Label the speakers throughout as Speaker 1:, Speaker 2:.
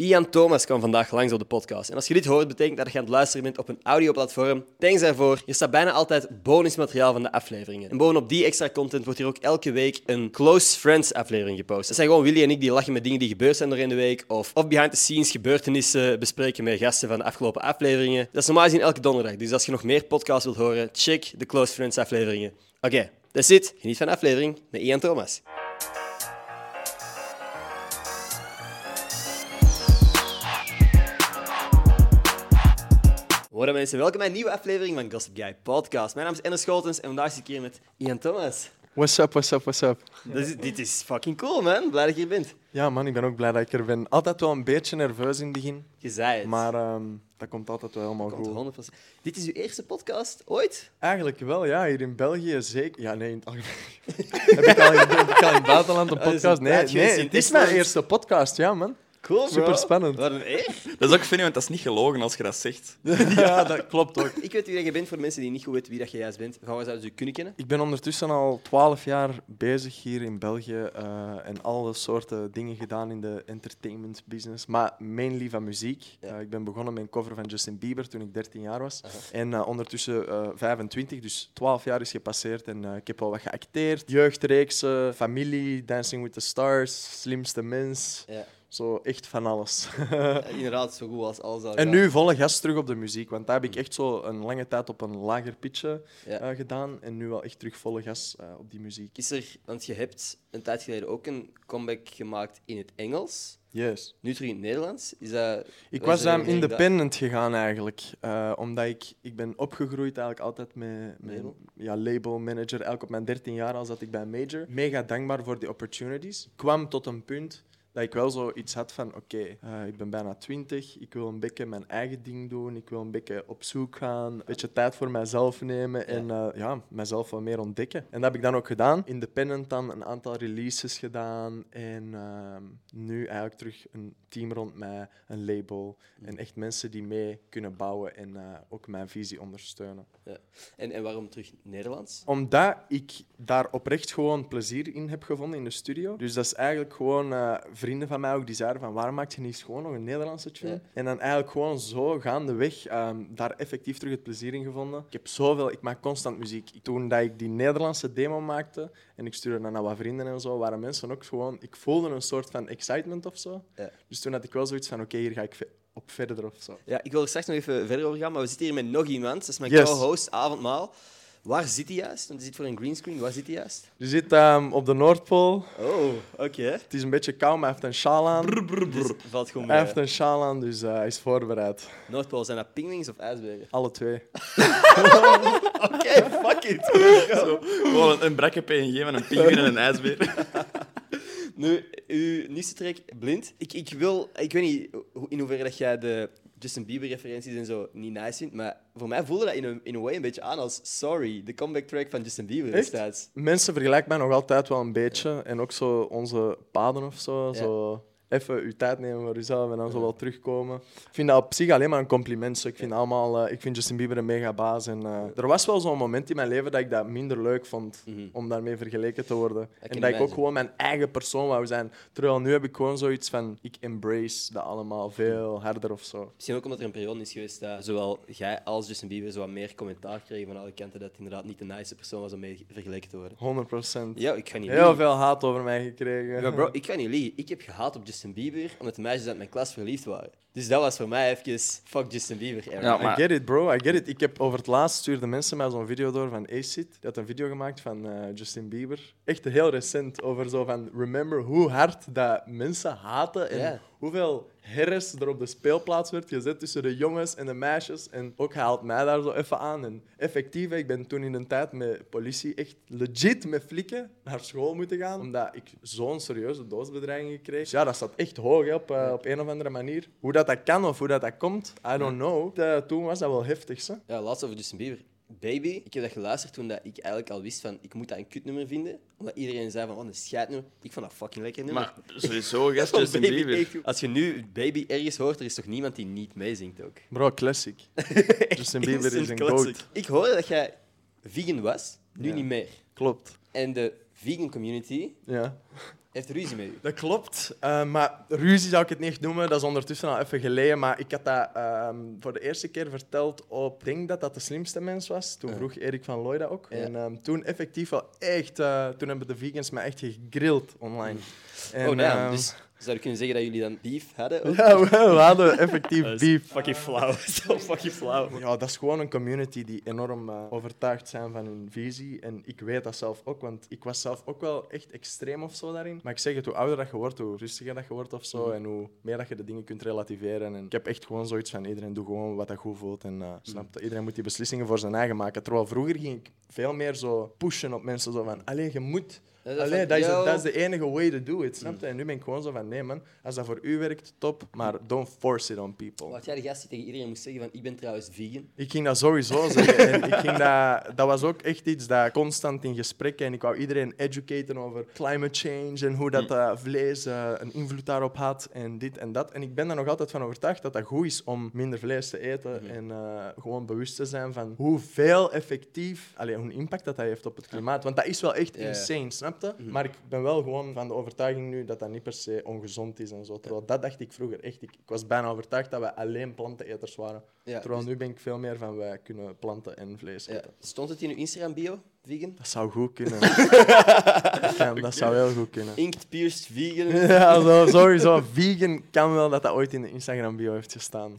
Speaker 1: Ian Thomas kwam vandaag langs op de podcast. En als je dit hoort, betekent dat je aan het luisteren bent op een audioplatform. Thanks daarvoor. Je staat bijna altijd bonusmateriaal van de afleveringen. En bovenop die extra content wordt hier ook elke week een Close Friends aflevering gepost. Dat zijn gewoon Willy en ik die lachen met dingen die gebeurd zijn doorheen de week. Of, of behind the scenes gebeurtenissen bespreken met gasten van de afgelopen afleveringen. Dat is normaal gezien elke donderdag. Dus als je nog meer podcasts wilt horen, check de Close Friends afleveringen. Oké, dat is het. Geniet van de aflevering met Ian Thomas. Hoi mensen, welkom bij een nieuwe aflevering van Gossip Guy Podcast. Mijn naam is Enne Scholtens en vandaag zit ik hier met Ian Thomas.
Speaker 2: What's up, what's up, what's up?
Speaker 1: Dit is- dit is fucking cool, man. Blij dat je hier bent.
Speaker 2: Ja, man, ik ben ook blij dat ik er ben. Altijd wel een beetje nerveus in het begin,
Speaker 1: Je zei het.
Speaker 2: maar ehm, dat komt altijd wel helemaal
Speaker 1: Komt
Speaker 2: goed.
Speaker 1: 100%. Dit is uw eerste podcast ooit?
Speaker 2: Eigenlijk wel, ja, hier in België zeker. Ja, nee, in het algemeen. Heb ik al in, heb ik al in het buitenland een
Speaker 1: Oh, is het
Speaker 2: podcast? Nee,
Speaker 1: tijd geweest
Speaker 2: nee,
Speaker 1: in
Speaker 2: het is mijn
Speaker 1: Disneyland?
Speaker 2: eerste podcast, ja, man.
Speaker 1: Cool, bro.
Speaker 2: Superspannend.
Speaker 1: Wat een eer.
Speaker 3: Dat is ook funny, want dat is niet gelogen als je dat zegt.
Speaker 2: Ja, dat klopt ook.
Speaker 1: Ik weet wie dat je bent voor de mensen die niet goed weten wie dat je juist bent. Van waar zouden ze u kunnen kennen?
Speaker 2: Ik ben ondertussen al twaalf jaar bezig hier in België eh, en alle soorten dingen gedaan in de entertainment business, maar mainly van muziek. Eh, ik ben begonnen met een cover van Justin Bieber toen ik 13 jaar was en eh, ondertussen eh, 25, dus 12 jaar is gepasseerd en eh, ik heb al wat geacteerd. Jeugdreeksen, familie, Dancing with the Stars, Slimste Mens,
Speaker 1: Ja.
Speaker 2: zo echt van alles.
Speaker 1: Inderdaad, zo goed als alles al.
Speaker 2: En nu volle gas terug op de muziek, want daar heb ik echt zo een lange tijd op een lager pitje
Speaker 1: Ja.
Speaker 2: eh, gedaan. En nu wel echt terug volle gas eh, op die muziek.
Speaker 1: Is er, want je hebt een tijd geleden ook een comeback gemaakt in het Engels.
Speaker 2: Yes.
Speaker 1: Nu terug in het Nederlands. Is dat...
Speaker 2: Ik
Speaker 1: wat is
Speaker 2: was
Speaker 1: er-
Speaker 2: um, independent gegaan eigenlijk, eh, omdat ik, ik ben opgegroeid eigenlijk altijd met, met
Speaker 1: Label?
Speaker 2: Ja, label manager. Eigenlijk op mijn 13 jaar al zat ik bij een major. Mega dankbaar voor die opportunities. Ik kwam tot een punt dat ik wel zoiets had van, oké, eh, ik ben bijna 20, ik wil een beetje mijn eigen ding doen, ik wil een beetje op zoek gaan, een beetje tijd voor mijzelf nemen en eh, ja, mezelf wat meer ontdekken. En dat heb ik dan ook gedaan. Independent dan een aantal releases gedaan en ehm, nu eigenlijk terug een team rond mij, een label en echt mensen die mee kunnen bouwen en eh, ook mijn visie ondersteunen.
Speaker 1: Ja. En, en waarom terug Nederlands?
Speaker 2: Omdat ik daar oprecht gewoon plezier in heb gevonden in de studio. Dus dat is eigenlijk gewoon eh, vrienden van mij ook die zeiden van waarom maak je niet gewoon nog een Nederlandse tune?
Speaker 1: Ja.
Speaker 2: En dan eigenlijk gewoon zo gaandeweg ehm daar effectief terug het plezier in gevonden. Ik heb zoveel, ik maak constant muziek. Toen dat ik die Nederlandse demo maakte en ik stuurde dat naar wat vrienden en zo, waren mensen ook gewoon, ik voelde een soort van excitement of zo.
Speaker 1: Ja.
Speaker 2: Dus toen had ik wel zoiets van oké, hier ga ik ve- op verder of zo.
Speaker 1: Ja, ik wil er straks nog even verder over gaan, maar we zitten hier met nog iemand. Dat is mijn
Speaker 2: Yes.
Speaker 1: co-host, Avondmaal. Waar zit hij juist? Want hij zit voor een greenscreen. Waar zit hij juist?
Speaker 2: Je zit ehm, op de Noordpool.
Speaker 1: Oh, oké.
Speaker 2: Het is een beetje koud, maar hij heeft een sjaal aan.
Speaker 1: Dus valt gewoon
Speaker 2: Hij
Speaker 1: mee.
Speaker 2: heeft een sjaal aan, dus eh, hij is voorbereid.
Speaker 1: Noordpool, zijn dat pingwings of ijsbergen?
Speaker 2: Alle twee.
Speaker 1: Oké, fuck it.
Speaker 3: Gewoon een, een brakke PNG met een pinguïn en een ijsbeer.
Speaker 1: Nu, uw nieuwste track, Blind. Ik, ik wil... Ik weet niet hoe- in hoeverre dat jij de Justin Bieber-referenties en zo niet nice vindt, maar voor mij voelde dat in een, in een way een beetje aan als Sorry, de comeback track van Justin Bieber
Speaker 2: Echt?
Speaker 1: destijds.
Speaker 2: Mensen vergelijken mij nog altijd wel een beetje. En ook zo onze paden of zo. zo even uw tijd nemen voor uzelf en dan zo wel terugkomen. Ik vind dat op zich alleen maar een compliment. Zo. Ik, vind allemaal, eh, ik vind Justin Bieber een mega baas. En, eh, er was wel zo'n moment in mijn leven dat ik dat minder leuk vond
Speaker 1: Mhm.
Speaker 2: om daarmee vergeleken te worden. en
Speaker 1: kan
Speaker 2: Mm. dat ik ook
Speaker 1: imagine.
Speaker 2: gewoon mijn eigen persoon wou zijn. Terwijl nu heb ik gewoon zoiets van, ik embrace dat allemaal veel harder of zo.
Speaker 1: Misschien ook omdat er een periode is geweest dat zowel jij als Justin Bieber zo wat meer commentaar kregen van alle kanten dat het inderdaad niet de nice persoon was om mee vergeleken te worden.
Speaker 2: 100%.
Speaker 1: Ja, ik ga niet
Speaker 2: Heel
Speaker 1: liegen.
Speaker 2: veel haat over mij gekregen.
Speaker 1: Maar bro, ik ga niet liegen. Ik heb gehaat op Justin Bieber omdat de meisjes uit mijn klas verliefd waren. Dus dat was voor mij even fuck Justin Bieber. era.
Speaker 3: Ja,
Speaker 2: I
Speaker 3: maar-
Speaker 2: get it, bro. I get it. Ik heb over het laatst stuurden mensen mij zo'n video door van Acid. Die had een video gemaakt van eh, Justin Bieber. Echt heel recent. Over zo van remember hoe hard dat mensen haten. En
Speaker 1: Ja.
Speaker 2: hoeveel herres er op de speelplaats werd gezet tussen de jongens en de meisjes. En ook hij haalt mij daar zo even aan. En effectief, ik ben toen in een tijd met politie echt legit met flikken naar school moeten gaan. Omdat ik zo'n serieuze doosbedreiging kreeg. Dus ja, dat staat echt hoog hè, op, eh, op een of andere manier. Hoe dat, dat kan of hoe dat, dat komt, I don't know. Eh, toen was dat wel heftig, hè.
Speaker 1: Ja, laatst over Justin Bieber. Baby, ik heb dat geluisterd toen dat ik eigenlijk al wist van ik moet dat een kutnummer vinden. Omdat iedereen zei van oh, een scheidnummer. Ik vond dat fucking lekker nummer.
Speaker 3: Maar sowieso, gast,
Speaker 1: Oh,
Speaker 3: Justin
Speaker 1: Baby
Speaker 3: Bieber.
Speaker 1: echt- Als je nu Baby ergens hoort, er is toch niemand die niet meezingt ook.
Speaker 2: Bro, classic. Justin Bieber is
Speaker 1: Instant
Speaker 2: een
Speaker 1: classic.
Speaker 2: goat.
Speaker 1: Ik hoorde dat jij vegan was, nu
Speaker 2: Ja.
Speaker 1: niet meer.
Speaker 2: Klopt.
Speaker 1: En de vegan community
Speaker 2: Ja.
Speaker 1: heeft ruzie met u.
Speaker 2: Dat klopt, eh, maar ruzie zou ik het niet echt noemen. Dat is ondertussen al even geleden. Maar ik had dat ehm, voor de eerste keer verteld op... Ik denk dat dat de slimste mens was. Toen vroeg Erik van Looy dat ook.
Speaker 1: Ja.
Speaker 2: En ehm, toen effectief wel echt... eh, toen hebben de vegans me echt gegrild online. En,
Speaker 1: oh, damn.
Speaker 2: ehm,
Speaker 1: Dus zou je kunnen zeggen dat jullie dan beef hadden? ook?
Speaker 2: Ja, we, we hadden
Speaker 1: dus
Speaker 2: effectief beef.
Speaker 4: Fucking flauw. Zo fucking flauw.
Speaker 2: Ja, dat is gewoon een community die enorm eh, overtuigd zijn van hun visie. En ik weet dat zelf ook, want ik was zelf ook wel echt extreem of zo daarin. Maar ik zeg het, hoe ouder dat je wordt, hoe rustiger dat je wordt of
Speaker 1: Mhm.
Speaker 2: zo. En hoe meer dat je de dingen kunt relativeren. En ik heb echt gewoon zoiets van iedereen doet gewoon wat dat goed voelt. En eh
Speaker 1: Mhm.
Speaker 2: snap je? iedereen moet die beslissingen voor zijn eigen maken. Terwijl vroeger ging ik veel meer zo pushen op mensen. Zo van, allee, je moet...
Speaker 1: Ja, dat is
Speaker 2: Allee,
Speaker 1: van,
Speaker 2: dat is,
Speaker 1: yo. Mhm.
Speaker 2: dat is de enige way to do it, snap je? En nu ben ik gewoon zo van, nee man, als dat voor u werkt, top. Maar don't force it on people.
Speaker 1: Wat jij de gast die tegen iedereen moest zeggen van ik ben trouwens vegan.
Speaker 2: Ik ging dat sowieso zeggen. En ik ging dat, dat was ook echt iets dat constant in gesprekken. En ik wou iedereen educaten over climate change en hoe
Speaker 1: Mm.
Speaker 2: dat eh, vlees eh, een invloed daarop had. En dit en dat. En ik ben er nog altijd van overtuigd dat dat goed is om minder vlees te eten.
Speaker 1: Mm-hmm.
Speaker 2: En eh, gewoon bewust te zijn van hoeveel effectief, allee, hoe impact dat dat heeft op het klimaat. Want dat is wel echt
Speaker 1: Ja, Mm-hmm. ja.
Speaker 2: insane, snapte? Maar ik ben wel gewoon van de overtuiging nu dat dat niet per se ongezond is en zo. Terwijl dat dacht ik vroeger echt. Ik, ik was bijna overtuigd dat we alleen planteneters waren.
Speaker 1: Ja,
Speaker 2: Terwijl nu ben ik veel meer van wij kunnen planten en vlees
Speaker 1: Ja.
Speaker 2: eten.
Speaker 1: Stond het in uw Instagram bio, vegan?
Speaker 2: Dat zou goed kunnen. ja, dat zou heel goed kunnen.
Speaker 1: Inkt pierced vegan.
Speaker 2: Ja, zo, sowieso. Vegan kan wel dat dat ooit in de Instagram bio heeft gestaan.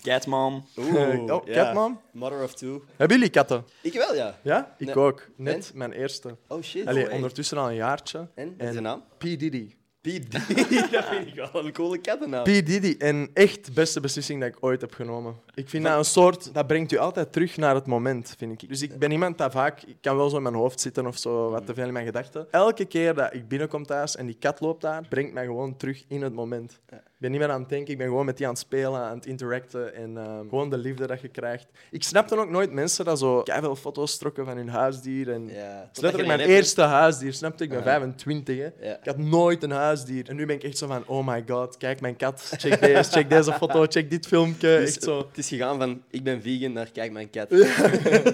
Speaker 3: Catmom.
Speaker 2: Eh, oh, Catman?
Speaker 1: Mother of two.
Speaker 2: Hebben jullie katten?
Speaker 1: Ik wel, ja.
Speaker 2: Ja? Ik
Speaker 1: Nee.
Speaker 2: ook. Net mijn eerste.
Speaker 1: Oh shit.
Speaker 2: Allee,
Speaker 1: Oh, hey.
Speaker 2: ondertussen al een jaartje.
Speaker 1: En? Wat is de naam?
Speaker 2: P. Diddy.
Speaker 1: P. Diddy. dat vind ik wel een coole kattennaam.
Speaker 2: P. Diddy. En echt beste beslissing dat ik ooit heb genomen. Ik vind dat een soort... Dat brengt u altijd terug naar het moment, vind ik. Dus ik ben iemand dat vaak... Ik kan wel zo in mijn hoofd zitten of zo, wat te veel in mijn gedachten. Elke keer dat ik binnenkom thuis en die kat loopt daar, brengt mij gewoon terug in het moment. Ik ben niet meer aan het denken, ik ben gewoon met die aan het spelen, aan het interacten en ehm, gewoon de liefde dat je krijgt. Ik snap dan ook nooit mensen dat zo veel foto's trokken van hun huisdier en...
Speaker 1: Ja.
Speaker 2: Het is letterlijk
Speaker 3: Dat
Speaker 2: mijn
Speaker 3: je een
Speaker 2: eerste huisdier, snapte ik? Ik ben 25, hè.
Speaker 1: Ja.
Speaker 2: Ik had nooit een huisdier. En nu ben ik echt zo van, oh my god, kijk mijn kat. Check deze, check deze foto, check dit filmpje.
Speaker 1: Dus
Speaker 2: Echt zo.
Speaker 1: Het is gegaan van ik ben vegan naar kijk mijn kat.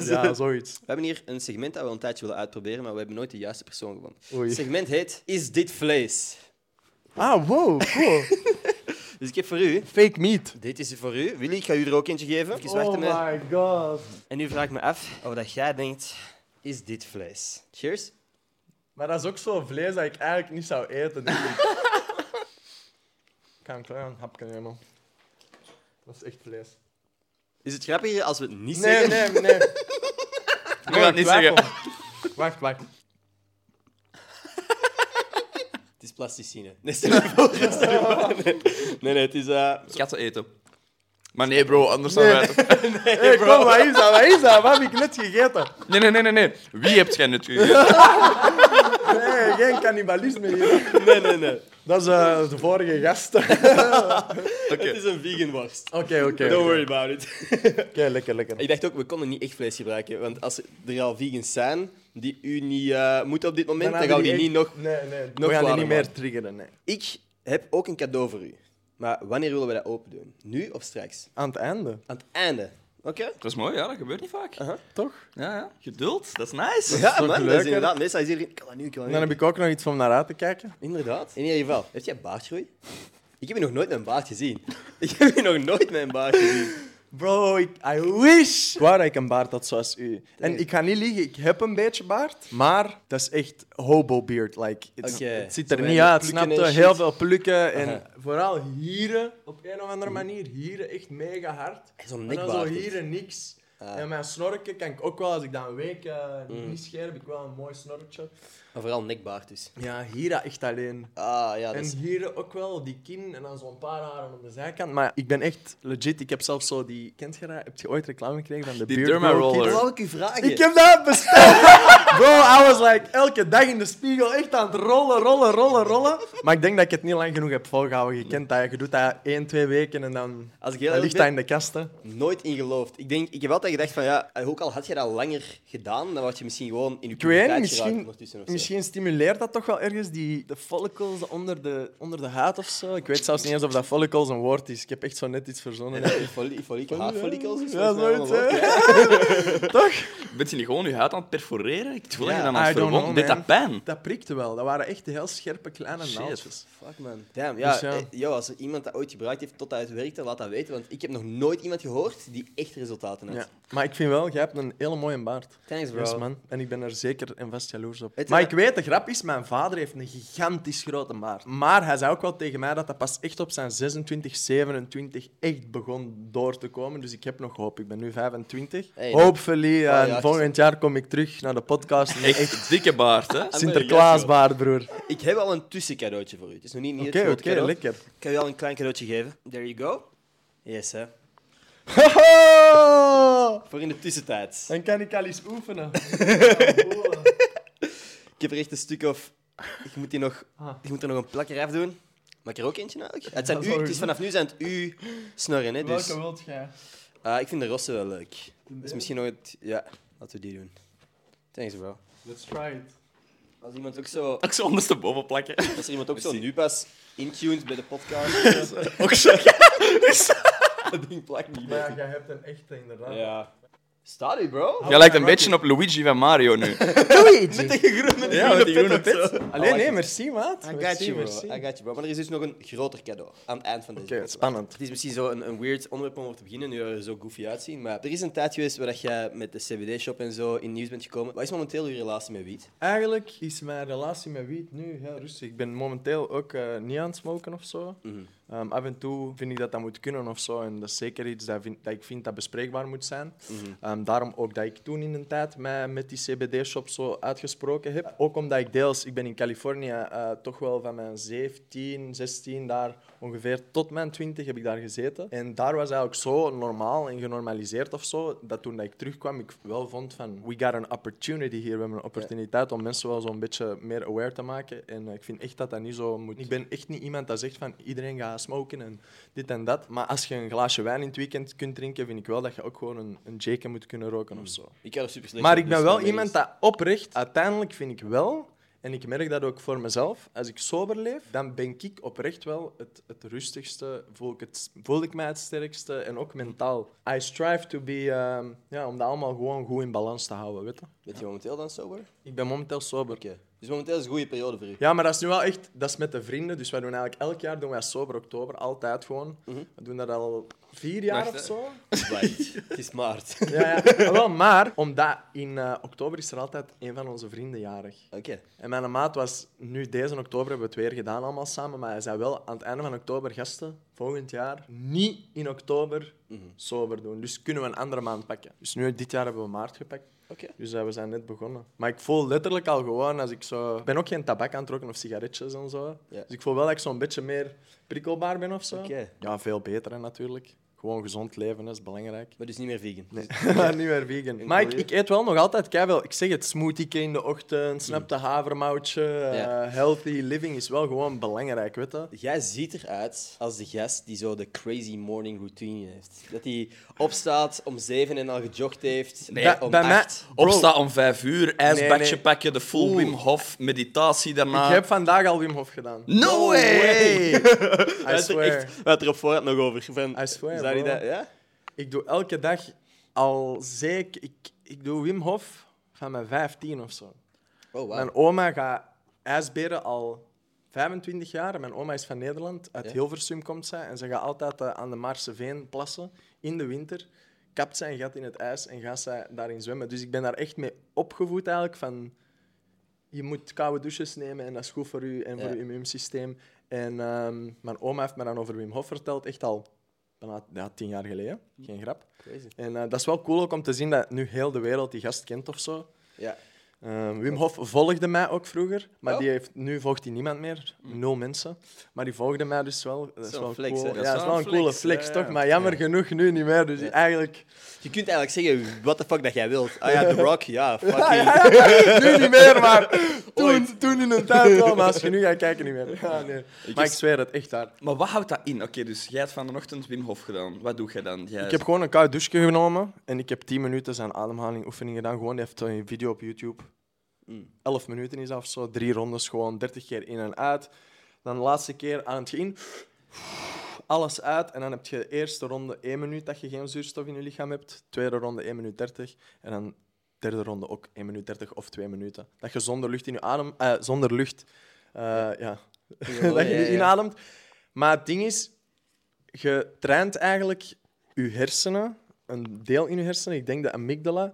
Speaker 2: Ja, zoiets.
Speaker 1: We hebben hier een segment dat we al een tijdje willen uitproberen, maar we hebben nooit de juiste persoon gevonden.
Speaker 2: Oei.
Speaker 1: Het segment heet Is dit vlees?
Speaker 2: Ah, wow, cool.
Speaker 1: Dus ik heb voor u.
Speaker 2: Fake meat.
Speaker 1: Dit is voor u. Willy, ik ga u er ook eentje geven. Even wachten met-
Speaker 2: Oh my god.
Speaker 1: En nu vraag ik me af of dat jij denkt: Is dit vlees? Cheers.
Speaker 2: Maar dat is ook zo'n vlees dat ik eigenlijk niet zou eten, denk ik. ik ga een klein hapje nemen. Dat is echt vlees.
Speaker 1: Is het grappiger als we het niet
Speaker 2: Nee,
Speaker 1: zeggen?
Speaker 2: nee, nee.
Speaker 3: Ik ga het niet zeggen.
Speaker 2: Wacht, wacht.
Speaker 1: Het is plasticine. Nee, stel je voor, stel je voor.
Speaker 2: Oh.
Speaker 1: Nee. Nee, nee, het is... eh,
Speaker 3: Katten eten. Maar nee, bro, anders zijn wij het-
Speaker 2: Hey, kom, wat is dat? Wat is dat? Wat heb ik net gegeten?
Speaker 3: Nee, nee, nee, nee, nee. Wie hebt jij net gegeten?
Speaker 2: Nee, geen cannibalisme hier.
Speaker 1: Nee, nee, nee.
Speaker 2: Dat is eh, de vorige gast. Oké,
Speaker 3: Oké.
Speaker 1: Het is een vegan worst.
Speaker 2: oké.
Speaker 1: Don't worry about it.
Speaker 2: Oké, lekker, lekker.
Speaker 1: Ik dacht ook, we konden niet echt vlees gebruiken. Want als er al vegans zijn die u niet eh moeten op dit moment, dan gaan we die niet nog...
Speaker 2: Nee, nee.
Speaker 1: nog
Speaker 2: we gaan die
Speaker 1: kwader
Speaker 2: niet meer
Speaker 1: maken.
Speaker 2: triggeren, nee.
Speaker 1: Ik heb ook een cadeau voor u. Maar wanneer willen we dat open doen? Nu of straks?
Speaker 2: Aan het einde,
Speaker 1: Aan het einde. Oké?
Speaker 3: Dat is mooi, ja, dat gebeurt niet vaak.
Speaker 2: toch?
Speaker 3: Ja, ja. Geduld, dat is nice.
Speaker 1: Ja,
Speaker 2: toch
Speaker 1: man, dat is
Speaker 2: leuker?
Speaker 1: inderdaad. Meestal is hier... Ik kan dat nu, ik kan dat
Speaker 2: En
Speaker 1: nu.
Speaker 2: dan heb ik ook nog iets om naar uit te kijken.
Speaker 1: Inderdaad. In ieder geval, heb jij baardgroei? Ik heb je nog nooit met een baard gezien. Ik heb je nog nooit met een baard gezien.
Speaker 2: Bro, ik, I wish! Ik wou dat ik een baard had zoals u. En ik ga niet liegen, ik heb een beetje baard. Maar dat is echt hobo beard. Like, it's-
Speaker 1: Oké.
Speaker 2: Het ziet
Speaker 1: Zo
Speaker 2: er niet
Speaker 1: weinig
Speaker 2: uit,
Speaker 1: plukken
Speaker 2: snap
Speaker 1: en
Speaker 2: je?
Speaker 1: shit.
Speaker 2: Heel veel plukken. En
Speaker 1: Aha.
Speaker 2: vooral hieren, op een of andere manier. Hieren echt mega hard.
Speaker 1: En zo'n
Speaker 2: Maar dan zo
Speaker 1: nekbaard Ah. is.
Speaker 2: hieren niks. En mijn snorken kan ik ook wel, als ik dan een week eh,
Speaker 1: Mm.
Speaker 2: niet scheer, heb ik wel een mooi snorretje.
Speaker 1: Maar vooral nekbaard dus.
Speaker 2: Ja, hieren echt alleen.
Speaker 1: Ah, ja, dat is...
Speaker 2: En hier ook wel, die kin en dan zo'n paar haren op de zijkant. Maar ik ben echt legit, ik heb zelfs zo die... Kent je dat? Heb je ooit reclame gekregen van de
Speaker 3: Die
Speaker 2: Beard Grow
Speaker 3: dermaroller.
Speaker 2: Kit?
Speaker 1: Wat wou ik u vragen?
Speaker 2: Ik heb dat besteld! Bro, I was like elke dag in de spiegel echt aan het rollen, rollen, rollen, rollen. Maar ik denk dat ik het niet lang genoeg heb volgehouden. Je kent dat, je doet dat één, twee weken en dan,
Speaker 1: Als ik heel
Speaker 2: dan
Speaker 1: eerlijk
Speaker 2: ligt
Speaker 1: ben-
Speaker 2: dat in de kasten.
Speaker 1: Nooit in geloofd. Ik, denk, ik heb altijd gedacht van ja, ook al had je dat langer gedaan, dan had je misschien gewoon in je
Speaker 2: Ik weet
Speaker 1: puberteit geraakt
Speaker 2: niet, misschien,
Speaker 1: ondertussen of zo.
Speaker 2: misschien Misschien stimuleert dat toch wel ergens die, de follicles onder de, onder de huid of zo. Ik weet zelfs niet eens of dat follicles een woord is. Ik heb echt zo net iets verzonnen.
Speaker 1: Follicles, haarfollicles is
Speaker 2: Ja,
Speaker 1: volgens mij
Speaker 2: zoiets,
Speaker 1: wel een
Speaker 2: hè?
Speaker 1: woord,
Speaker 3: Ben je niet gewoon je huid aan het perforeren? Ik voel je
Speaker 2: Ja,
Speaker 3: dan aan het
Speaker 2: I don't
Speaker 3: verwonden.
Speaker 2: know,
Speaker 3: Deed
Speaker 2: man.
Speaker 3: dat pijn?
Speaker 2: Dat prikte wel. Dat waren echt heel scherpe kleine
Speaker 3: Shit.
Speaker 2: naaltjes.
Speaker 1: Fuck man. Damn, ja.
Speaker 2: Dus ja.
Speaker 1: eh, Yo, als er iemand dat ooit gebruikt heeft totdat het werkte, laat dat weten. Want ik heb nog nooit iemand gehoord die echt resultaten had.
Speaker 2: Ja. Maar ik vind wel, jij hebt een hele mooie baard.
Speaker 1: Thanks bro.
Speaker 2: Yes, man. En ik ben er zeker en vast jaloers op.
Speaker 1: Het-
Speaker 2: maar ik weet, de grap is, mijn vader heeft een gigantisch grote baard. Maar hij zei ook wel tegen mij dat dat pas echt op zijn 26, 27 echt begon door te komen. Dus ik heb nog hoop. Ik ben nu 25.
Speaker 1: Hey, dat- Ah,
Speaker 2: Hopefully, eh,
Speaker 1: ja, het is-
Speaker 2: volgend jaar kom ik terug naar de podcast. met echt
Speaker 3: Echt dikke baard, hè?
Speaker 2: Sinterklaasbaard, broer.
Speaker 1: Ik heb al een tussencadeautje voor u. Het is nog niet, niet
Speaker 2: Oké,
Speaker 1: het
Speaker 2: oké,
Speaker 1: grote cadeau.
Speaker 2: lekker.
Speaker 1: Ik kan u al een klein cadeautje geven. There you go. Yes, hè.
Speaker 2: Haha!
Speaker 1: Voor in de tussentijd.
Speaker 2: Dan kan ik al eens oefenen.
Speaker 1: Dus- Ik heb er echt een stuk of... Ik moet, die nog,
Speaker 2: Ah.
Speaker 1: ik moet er nog een plakker af doen. Maak er ook eentje nodig? Het, zijn
Speaker 2: dat
Speaker 1: u,
Speaker 2: zou
Speaker 1: het
Speaker 2: ik
Speaker 1: is vanaf nu zijn het u snorren, hè. Dus,
Speaker 2: Welke wilt jij?
Speaker 1: Ah, ik vind de rossen wel leuk. Dus misschien nog het... Ja, laten we die doen. Thanks, bro.
Speaker 2: Let's try it.
Speaker 1: Als iemand ook zo...
Speaker 3: Ik zou ondersteboven plakken.
Speaker 1: Als er iemand ook zo nu pas intuned bij de podcast...
Speaker 3: Ook zo.
Speaker 1: dat ding plakt niet
Speaker 2: Maar
Speaker 1: meer.
Speaker 2: ja, jij hebt een echte, inderdaad.
Speaker 1: Ja. Staat u, bro?
Speaker 3: Jij lijkt een beetje op Luigi van Mario nu.
Speaker 2: Doei!
Speaker 3: Ja, met die groene pet.
Speaker 2: Alleen, nee, merci, maat.
Speaker 1: I got
Speaker 2: Merci,
Speaker 1: you, bro.
Speaker 2: merci.
Speaker 1: I got you, bro. Maar er is dus nog een groter cadeau aan het eind van deze
Speaker 2: Oké,
Speaker 1: podcast.
Speaker 2: spannend.
Speaker 1: Het is misschien zo een, een weird onderwerp om over te beginnen, nu we er zo goofy uitzien. Maar er is een tijd geweest waar dat jij met de CBD-shop en zo in het nieuws bent gekomen. Wat is momenteel je relatie met wiet?
Speaker 2: Eigenlijk is mijn relatie met wiet nu heel rustig. Ik ben momenteel ook eh, niet aan het smoken of zo.
Speaker 1: Mhm,
Speaker 2: Ehm, af en toe vind ik dat dat moet kunnen of zo. En dat is zeker iets dat, vind- dat ik vind dat bespreekbaar moet zijn.
Speaker 1: mhm.
Speaker 2: Ehm, daarom ook dat ik toen in een tijd mij met die CBD-shop zo uitgesproken heb. Ook omdat ik deels, ik ben in Californië eh, toch wel van mijn 17, 16 daar ongeveer tot mijn 20 heb ik daar gezeten. En daar was eigenlijk zo normaal en genormaliseerd of zo, dat toen dat ik terugkwam ik wel vond van we got an opportunity hier, we hebben een opportuniteit om mensen wel zo'n beetje meer aware te maken. En eh, ik vind echt dat dat niet zo moet. Ik ben echt niet iemand dat zegt van iedereen gaat smoken en dit en dat. Maar als je een glaasje wijn in het weekend kunt drinken, vind ik wel dat je ook gewoon een, een jake moet kunnen roken of zo.
Speaker 1: Ik kan er super slecht op,
Speaker 2: Maar ik ben
Speaker 1: dus
Speaker 2: wel
Speaker 1: daarmee
Speaker 2: iemand
Speaker 1: is-
Speaker 2: dat oprecht, uiteindelijk vind ik wel, en ik merk dat ook voor mezelf, als ik sober leef, dan ben ik oprecht wel het, het rustigste, voel ik, het, voel ik mij het sterkste en ook mentaal. I strive to be, ehm, ja, om dat allemaal gewoon goed in balans te houden, weet je.
Speaker 1: Bent je momenteel dan sober? Oké.
Speaker 2: Ik ben momenteel sober.
Speaker 1: Dus momenteel is een goede periode voor u.
Speaker 2: Ja, maar dat is nu wel echt, dat is met de vrienden, dus wij doen eigenlijk elk jaar doen wij sober oktober, altijd gewoon. We doen dat al vier jaar
Speaker 3: Wacht,
Speaker 2: of
Speaker 3: hè.
Speaker 2: zo.
Speaker 1: Right. Het is maart. Oké.
Speaker 2: Ja, ja. Wel, maar omdat in eh, oktober is er altijd een van onze vrienden jarig. En mijn maat was nu deze oktober hebben we het weer gedaan allemaal samen, maar hij zei wel aan het einde van oktober gasten volgend jaar niet in oktober
Speaker 1: Mhm.
Speaker 2: sober doen. Dus kunnen we een andere maand pakken. Dus nu dit jaar hebben we maart gepakt.
Speaker 1: Oké.
Speaker 2: Dus eh, we zijn net begonnen. Maar ik voel letterlijk al gewoon als ik zo. Ik ben ook geen tabak aan het roken of sigaretjes en zo.
Speaker 1: Ja.
Speaker 2: Dus ik voel wel dat ik zo'n beetje meer prikkelbaar ben of zo.
Speaker 1: Oké.
Speaker 2: Ja, veel beter hè, natuurlijk. Gewoon gezond leven hè, is belangrijk.
Speaker 1: Maar dus niet meer vegan. Dus-
Speaker 2: Ah, niet meer vegan. Maar ik, ik eet wel nog altijd keiveel. Ik zeg het, smoothie in de ochtend, snap de havermoutje. eh,
Speaker 1: Ja.
Speaker 2: healthy living is wel gewoon belangrijk, weet je.
Speaker 1: Jij ziet eruit als de gast die zo de crazy morning routine heeft. Dat hij opstaat om zeven en al gejogd heeft.
Speaker 3: Nee,
Speaker 1: bij- om
Speaker 2: bij mij-
Speaker 1: acht.
Speaker 2: Bro.
Speaker 3: Opstaan om vijf uur, ijsbadje
Speaker 2: Nee, nee.
Speaker 3: pakken, de full Wim Hof, meditatie daarna.
Speaker 2: Ik heb vandaag al Wim Hof gedaan.
Speaker 3: No way!
Speaker 2: I swear.
Speaker 1: We hadden er op voorhand nog over. Van,
Speaker 2: I swear,
Speaker 1: zou die
Speaker 2: bro.
Speaker 1: dat- ja?
Speaker 2: Ik doe elke dag al zeker... Ik, ik doe Wim Hof van mijn 15 of zo.
Speaker 1: Oh, wow.
Speaker 2: Mijn oma gaat ijsberen al 25 jaar. En Mijn oma is van Nederland. Uit Hilversum komt zij. En ze gaat altijd eh, aan de Maarseveen plassen in de winter. Kapt zij een gat in het ijs en gaat zij daarin zwemmen. Dus ik ben daar echt mee opgevoed eigenlijk. Van, je moet koude douches nemen en dat is goed voor u en voor
Speaker 1: Ja.
Speaker 2: uw immuunsysteem. En ehm, mijn oma heeft me dan over Wim Hof verteld. Echt al bijna ja, tien jaar geleden. Geen grap.
Speaker 1: Crazy.
Speaker 2: En eh, dat is wel cool ook om te zien dat nu heel de wereld die gast kent of zo.
Speaker 1: Ja.
Speaker 2: Ehm, Wim Hof volgde mij ook vroeger, maar
Speaker 1: Oh.
Speaker 2: die heeft, nu volgt hij niemand meer. Nul mensen. Maar die volgde mij dus wel. Dat is
Speaker 1: Zo'n
Speaker 2: wel
Speaker 1: flex,
Speaker 2: cool.
Speaker 1: hè?
Speaker 2: Ja, dat is wel een coole flex,
Speaker 3: ja,
Speaker 2: toch?
Speaker 3: ja.
Speaker 2: Maar jammer genoeg nu niet meer. Dus eigenlijk
Speaker 1: Je kunt eigenlijk zeggen wat de fuck dat jij wilt. Ah ja, The Rock, ja, fuck you.
Speaker 2: nu niet meer, maar toen, toen in een tijd wel. Maar als je nu gaat kijken, niet meer. Ja, nee. Maar ik zweer het, echt daar.
Speaker 3: Maar wat houdt dat in? Oké, dus jij hebt van de ochtend Wim Hof gedaan. Wat doe jij dan? Jij
Speaker 2: Ik heb gewoon een koud douche genomen en ik heb 10 minuten zijn ademhaling oefening gedaan. Gewoon, die heeft een video op YouTube. 11 minuten is dat of zo. Drie rondes gewoon 30 keer in en uit. Dan de laatste keer aan het in. Alles uit. En dan heb je de eerste ronde 1 minuut dat je geen zuurstof in je lichaam hebt. Tweede ronde 1 minuut 30. En dan derde ronde ook 1 minuut 30 of 2 minuten. Dat je zonder lucht in je adem... eh, zonder lucht... eh, ja. dat je
Speaker 1: ja,
Speaker 2: niet
Speaker 1: ja.
Speaker 2: inademt. Maar het ding is... Je traint eigenlijk je hersenen, een deel in je hersenen, ik denk de amygdala,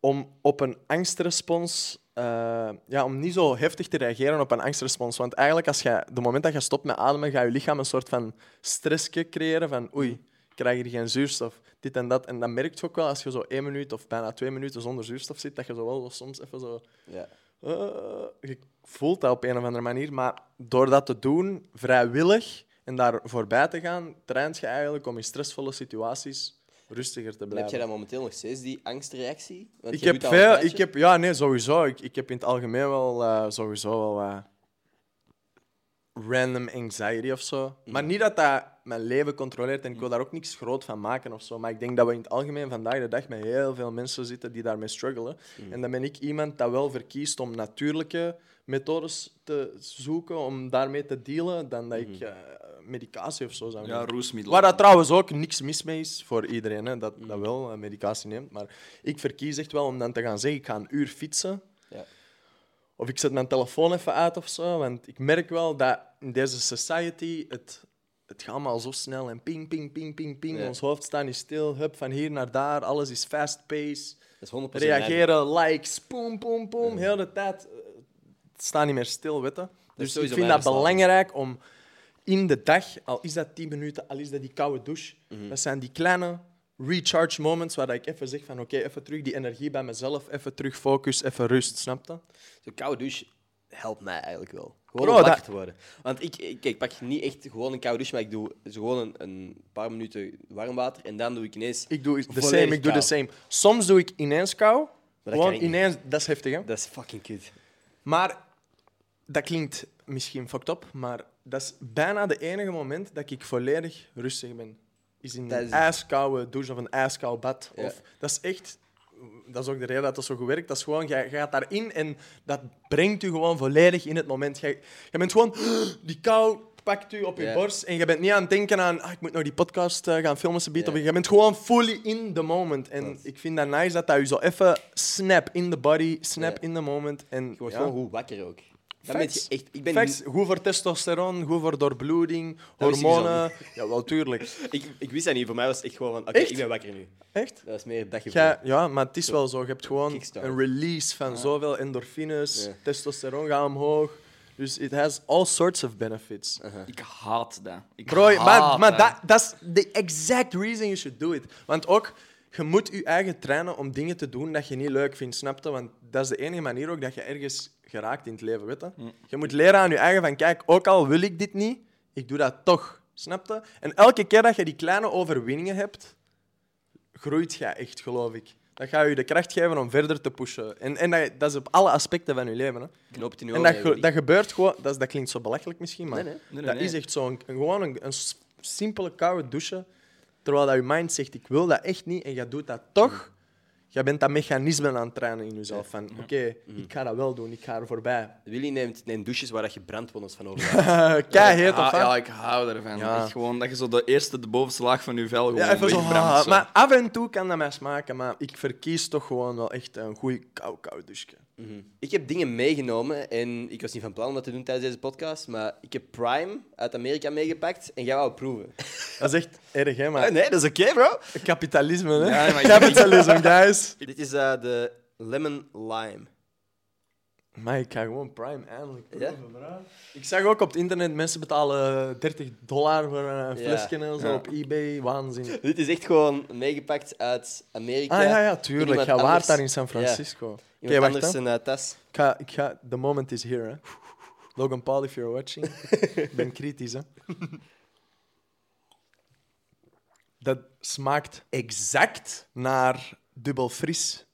Speaker 2: om op een angstrespons. eh, ja, om niet zo heftig te reageren op een angstrespons. Want eigenlijk, als je, de moment dat je stopt met ademen, gaat je lichaam een soort van stressje creëren. Van oei, ik krijg hier geen zuurstof. Dit en dat. En dat merk je ook wel als je zo één minuut of bijna twee minuten zonder zuurstof zit. Dat je zo wel zo soms even zo.
Speaker 1: Ja.
Speaker 2: eh, je voelt dat op een of andere manier. Maar door dat te doen, vrijwillig en daar voorbij te gaan, traint je eigenlijk om in stressvolle situaties rustiger te
Speaker 1: En heb
Speaker 2: blijven.
Speaker 1: jij dan momenteel nog steeds die angstreactie? Want
Speaker 2: Ik
Speaker 1: je
Speaker 2: heb
Speaker 1: doet dat al een
Speaker 2: veel, ik
Speaker 1: tijdje.
Speaker 2: heb, ja, nee, sowieso. Ik, ik heb in het algemeen wel eh, sowieso wel eh, random anxiety of zo. Maar
Speaker 1: Mhm.
Speaker 2: niet dat dat mijn leven controleert en ik wil daar ook niks groot van maken of zo. Maar ik denk dat we in het algemeen vandaag de dag met heel veel mensen zitten die daarmee struggelen.
Speaker 1: Mhm.
Speaker 2: En dan ben ik iemand dat wel verkiest om natuurlijke methodes te zoeken om daarmee te dealen, dan dat
Speaker 1: Mhm.
Speaker 2: ik eh, medicatie of zo zou
Speaker 3: Ja,
Speaker 2: nemen.
Speaker 3: roesmiddelen.
Speaker 2: Waar dat trouwens ook niks mis mee is voor iedereen, hè,
Speaker 1: Mm.
Speaker 2: dat, dat wel eh, medicatie neemt. Maar ik verkies echt wel om dan te gaan zeggen, ik ga een uur fietsen.
Speaker 1: Ja.
Speaker 2: Of ik zet mijn telefoon even uit of zo. Want ik merk wel dat in deze society het, het gaat allemaal zo snel. En ping, ping, ping, ping, ping.
Speaker 1: Ja.
Speaker 2: Ons hoofd staat niet stil. Hup, van hier naar daar. Alles is fast pace.
Speaker 1: Dat is 100% mijn-
Speaker 2: Reageren, likes, poem, poem, poem. Heel de tijd. eh, Het staat niet meer stil, weet je. Dus ik
Speaker 1: sowieso
Speaker 2: vind
Speaker 1: mijn
Speaker 2: dat
Speaker 1: verslaving.
Speaker 2: belangrijk om in de dag, al is dat 10 minuten, al is dat die koude douche,
Speaker 1: Mhm.
Speaker 2: dat zijn die kleine recharge moments waar ik even zeg van oké, even terug die energie bij mezelf, even terug focus, even rust, snap je?
Speaker 1: Zo'n koude douche helpt mij eigenlijk wel. Gewoon
Speaker 2: Bro,
Speaker 1: om wakker
Speaker 2: Oh, dat-
Speaker 1: te worden. Want ik, ik, ik pak niet echt gewoon een koude douche, maar ik doe zo gewoon een, een paar minuten warm water en dan doe ik ineens...
Speaker 2: Ik doe the
Speaker 1: volledig
Speaker 2: same, ik doe the
Speaker 1: kou.
Speaker 2: same. Soms doe ik ineens kou,
Speaker 1: dat
Speaker 2: gewoon
Speaker 1: kan ik niet.
Speaker 2: ineens, dat is heftig hè.
Speaker 1: Dat is fucking kut.
Speaker 2: Maar dat klinkt misschien fucked up, maar dat is bijna de enige moment dat ik volledig rustig ben. Is in
Speaker 1: Dat
Speaker 2: een
Speaker 1: is-
Speaker 2: ijskoude douche of een ijskoud bad.
Speaker 1: Ja.
Speaker 2: Of, dat is echt... Dat is ook de reden dat dat zo goed werkt. Dat is gewoon, jij jij gaat daarin en dat brengt u gewoon volledig in het moment. Jij, jij bent gewoon... Die kou pakt u op je
Speaker 1: Ja.
Speaker 2: borst en je bent niet aan het denken aan... "Ah, ik moet nog die podcast eh, gaan filmen, ze
Speaker 1: Ja.
Speaker 2: of Je bent gewoon fully in the moment. En
Speaker 1: Dat.
Speaker 2: ik vind dat nice dat dat u zo even snap in the body, snap
Speaker 1: Ja.
Speaker 2: in the moment. En,
Speaker 1: Je wordt
Speaker 2: ja.
Speaker 1: gewoon goed wakker ook. Dan ben je
Speaker 2: Facts.
Speaker 1: echt... Ik ben
Speaker 2: Facts, goed voor testosteron, goed voor doorbloeding,
Speaker 1: Dat wist ik dus
Speaker 2: hormonen. Ja, wel Oh, tuurlijk.
Speaker 1: Ik, ik wist dat niet. Voor mij was het echt gewoon van, oké,
Speaker 2: Echt?
Speaker 1: ik ben wakker nu.
Speaker 2: Echt?
Speaker 1: Dat was meer dagje
Speaker 2: Ja, ja, maar het is wel zo. Je hebt gewoon
Speaker 1: Kickstart.
Speaker 2: een release van zoveel endorfines,
Speaker 1: Ja.
Speaker 2: testosteron gaat omhoog. Dus it has all sorts of benefits.
Speaker 3: Ik haat dat. Ik
Speaker 2: Bro,
Speaker 3: haat
Speaker 2: maar, maar
Speaker 3: dat.
Speaker 2: dat, dat is the exact reason you should do it. Want ook, je moet je eigen trainen om dingen te doen dat je niet leuk vindt, snap je? Want dat is de enige manier ook dat je ergens geraakt in het leven, weet je?
Speaker 3: Mm.
Speaker 2: Je moet leren aan je eigen van, kijk, ook al wil ik dit niet, ik doe dat toch, snap je? En elke keer dat je die kleine overwinningen hebt, groeit je echt, geloof ik. Dat gaat je de kracht geven om verder te pushen. En, en dat, dat is op alle aspecten van je leven, hè?
Speaker 1: Knoopt in je
Speaker 2: En
Speaker 1: oren,
Speaker 2: dat, ge-
Speaker 1: Rudy.
Speaker 2: dat gebeurt gewoon, dat, is- dat klinkt zo belachelijk misschien, maar
Speaker 1: Nee, nee.
Speaker 3: Nee, nee,
Speaker 2: dat
Speaker 3: nee.
Speaker 2: is echt zo. Een, een- gewoon een, een s- simpele koude douche. Terwijl dat je mind zegt: Ik wil dat echt niet en jij doet dat toch.
Speaker 3: Mm.
Speaker 2: Jij bent dat mechanisme aan het trainen in jezelf. Van oké, ik ga dat wel doen, ik ga er voorbij.
Speaker 1: Willy neemt, neemt douches waar dat je brandwondes van overhoudt.
Speaker 2: Kei heet
Speaker 3: Ik ha-
Speaker 2: of
Speaker 3: Ja, ik hou daarvan.
Speaker 2: Ja.
Speaker 3: Echt gewoon dat je zo de eerste, de bovenste laag van je vel gewoon
Speaker 2: Ja, even zo.
Speaker 3: wegbrandt,
Speaker 2: ah,
Speaker 3: zo.
Speaker 2: Maar af en toe kan dat mij smaken, maar ik verkies toch gewoon wel echt een goede kou koude douche.
Speaker 1: Mhm. ik heb dingen meegenomen en ik was niet van plan om dat te doen tijdens deze podcast, maar ik heb Prime uit Amerika meegepakt en jij wou het proeven.
Speaker 2: Dat is echt erg, hè, maar
Speaker 1: Eh, nee, dat is oké, bro.
Speaker 2: kapitalisme, hè?
Speaker 3: Ja, maar ik-
Speaker 2: Kapitalisme, guys.
Speaker 1: Dit is eh, de Lemon Lime.
Speaker 2: Maar ik ga gewoon Prime eindelijk
Speaker 1: Ja?
Speaker 2: proeven, bro. Ik zag ook op het internet, mensen betalen eh, 30 dollar voor een
Speaker 1: Ja.
Speaker 2: flesje en zo
Speaker 3: Ja.
Speaker 2: op eBay. Waanzin.
Speaker 1: Dit is echt gewoon meegepakt uit Amerika.
Speaker 2: Ah ja, ja,
Speaker 1: Iemand
Speaker 2: tuurlijk. Jij waart
Speaker 1: anders-
Speaker 2: daar in San
Speaker 1: ja,
Speaker 2: Francisco. Oké,
Speaker 1: iemand
Speaker 2: wacht
Speaker 1: anders
Speaker 2: hè.
Speaker 1: zijn eh, tas.
Speaker 2: Ik ga, ik ga... The moment is here, hè. Logan Paul, if you're watching. ik ben kritisch, hè. Dat smaakt exact naar dubbel fris.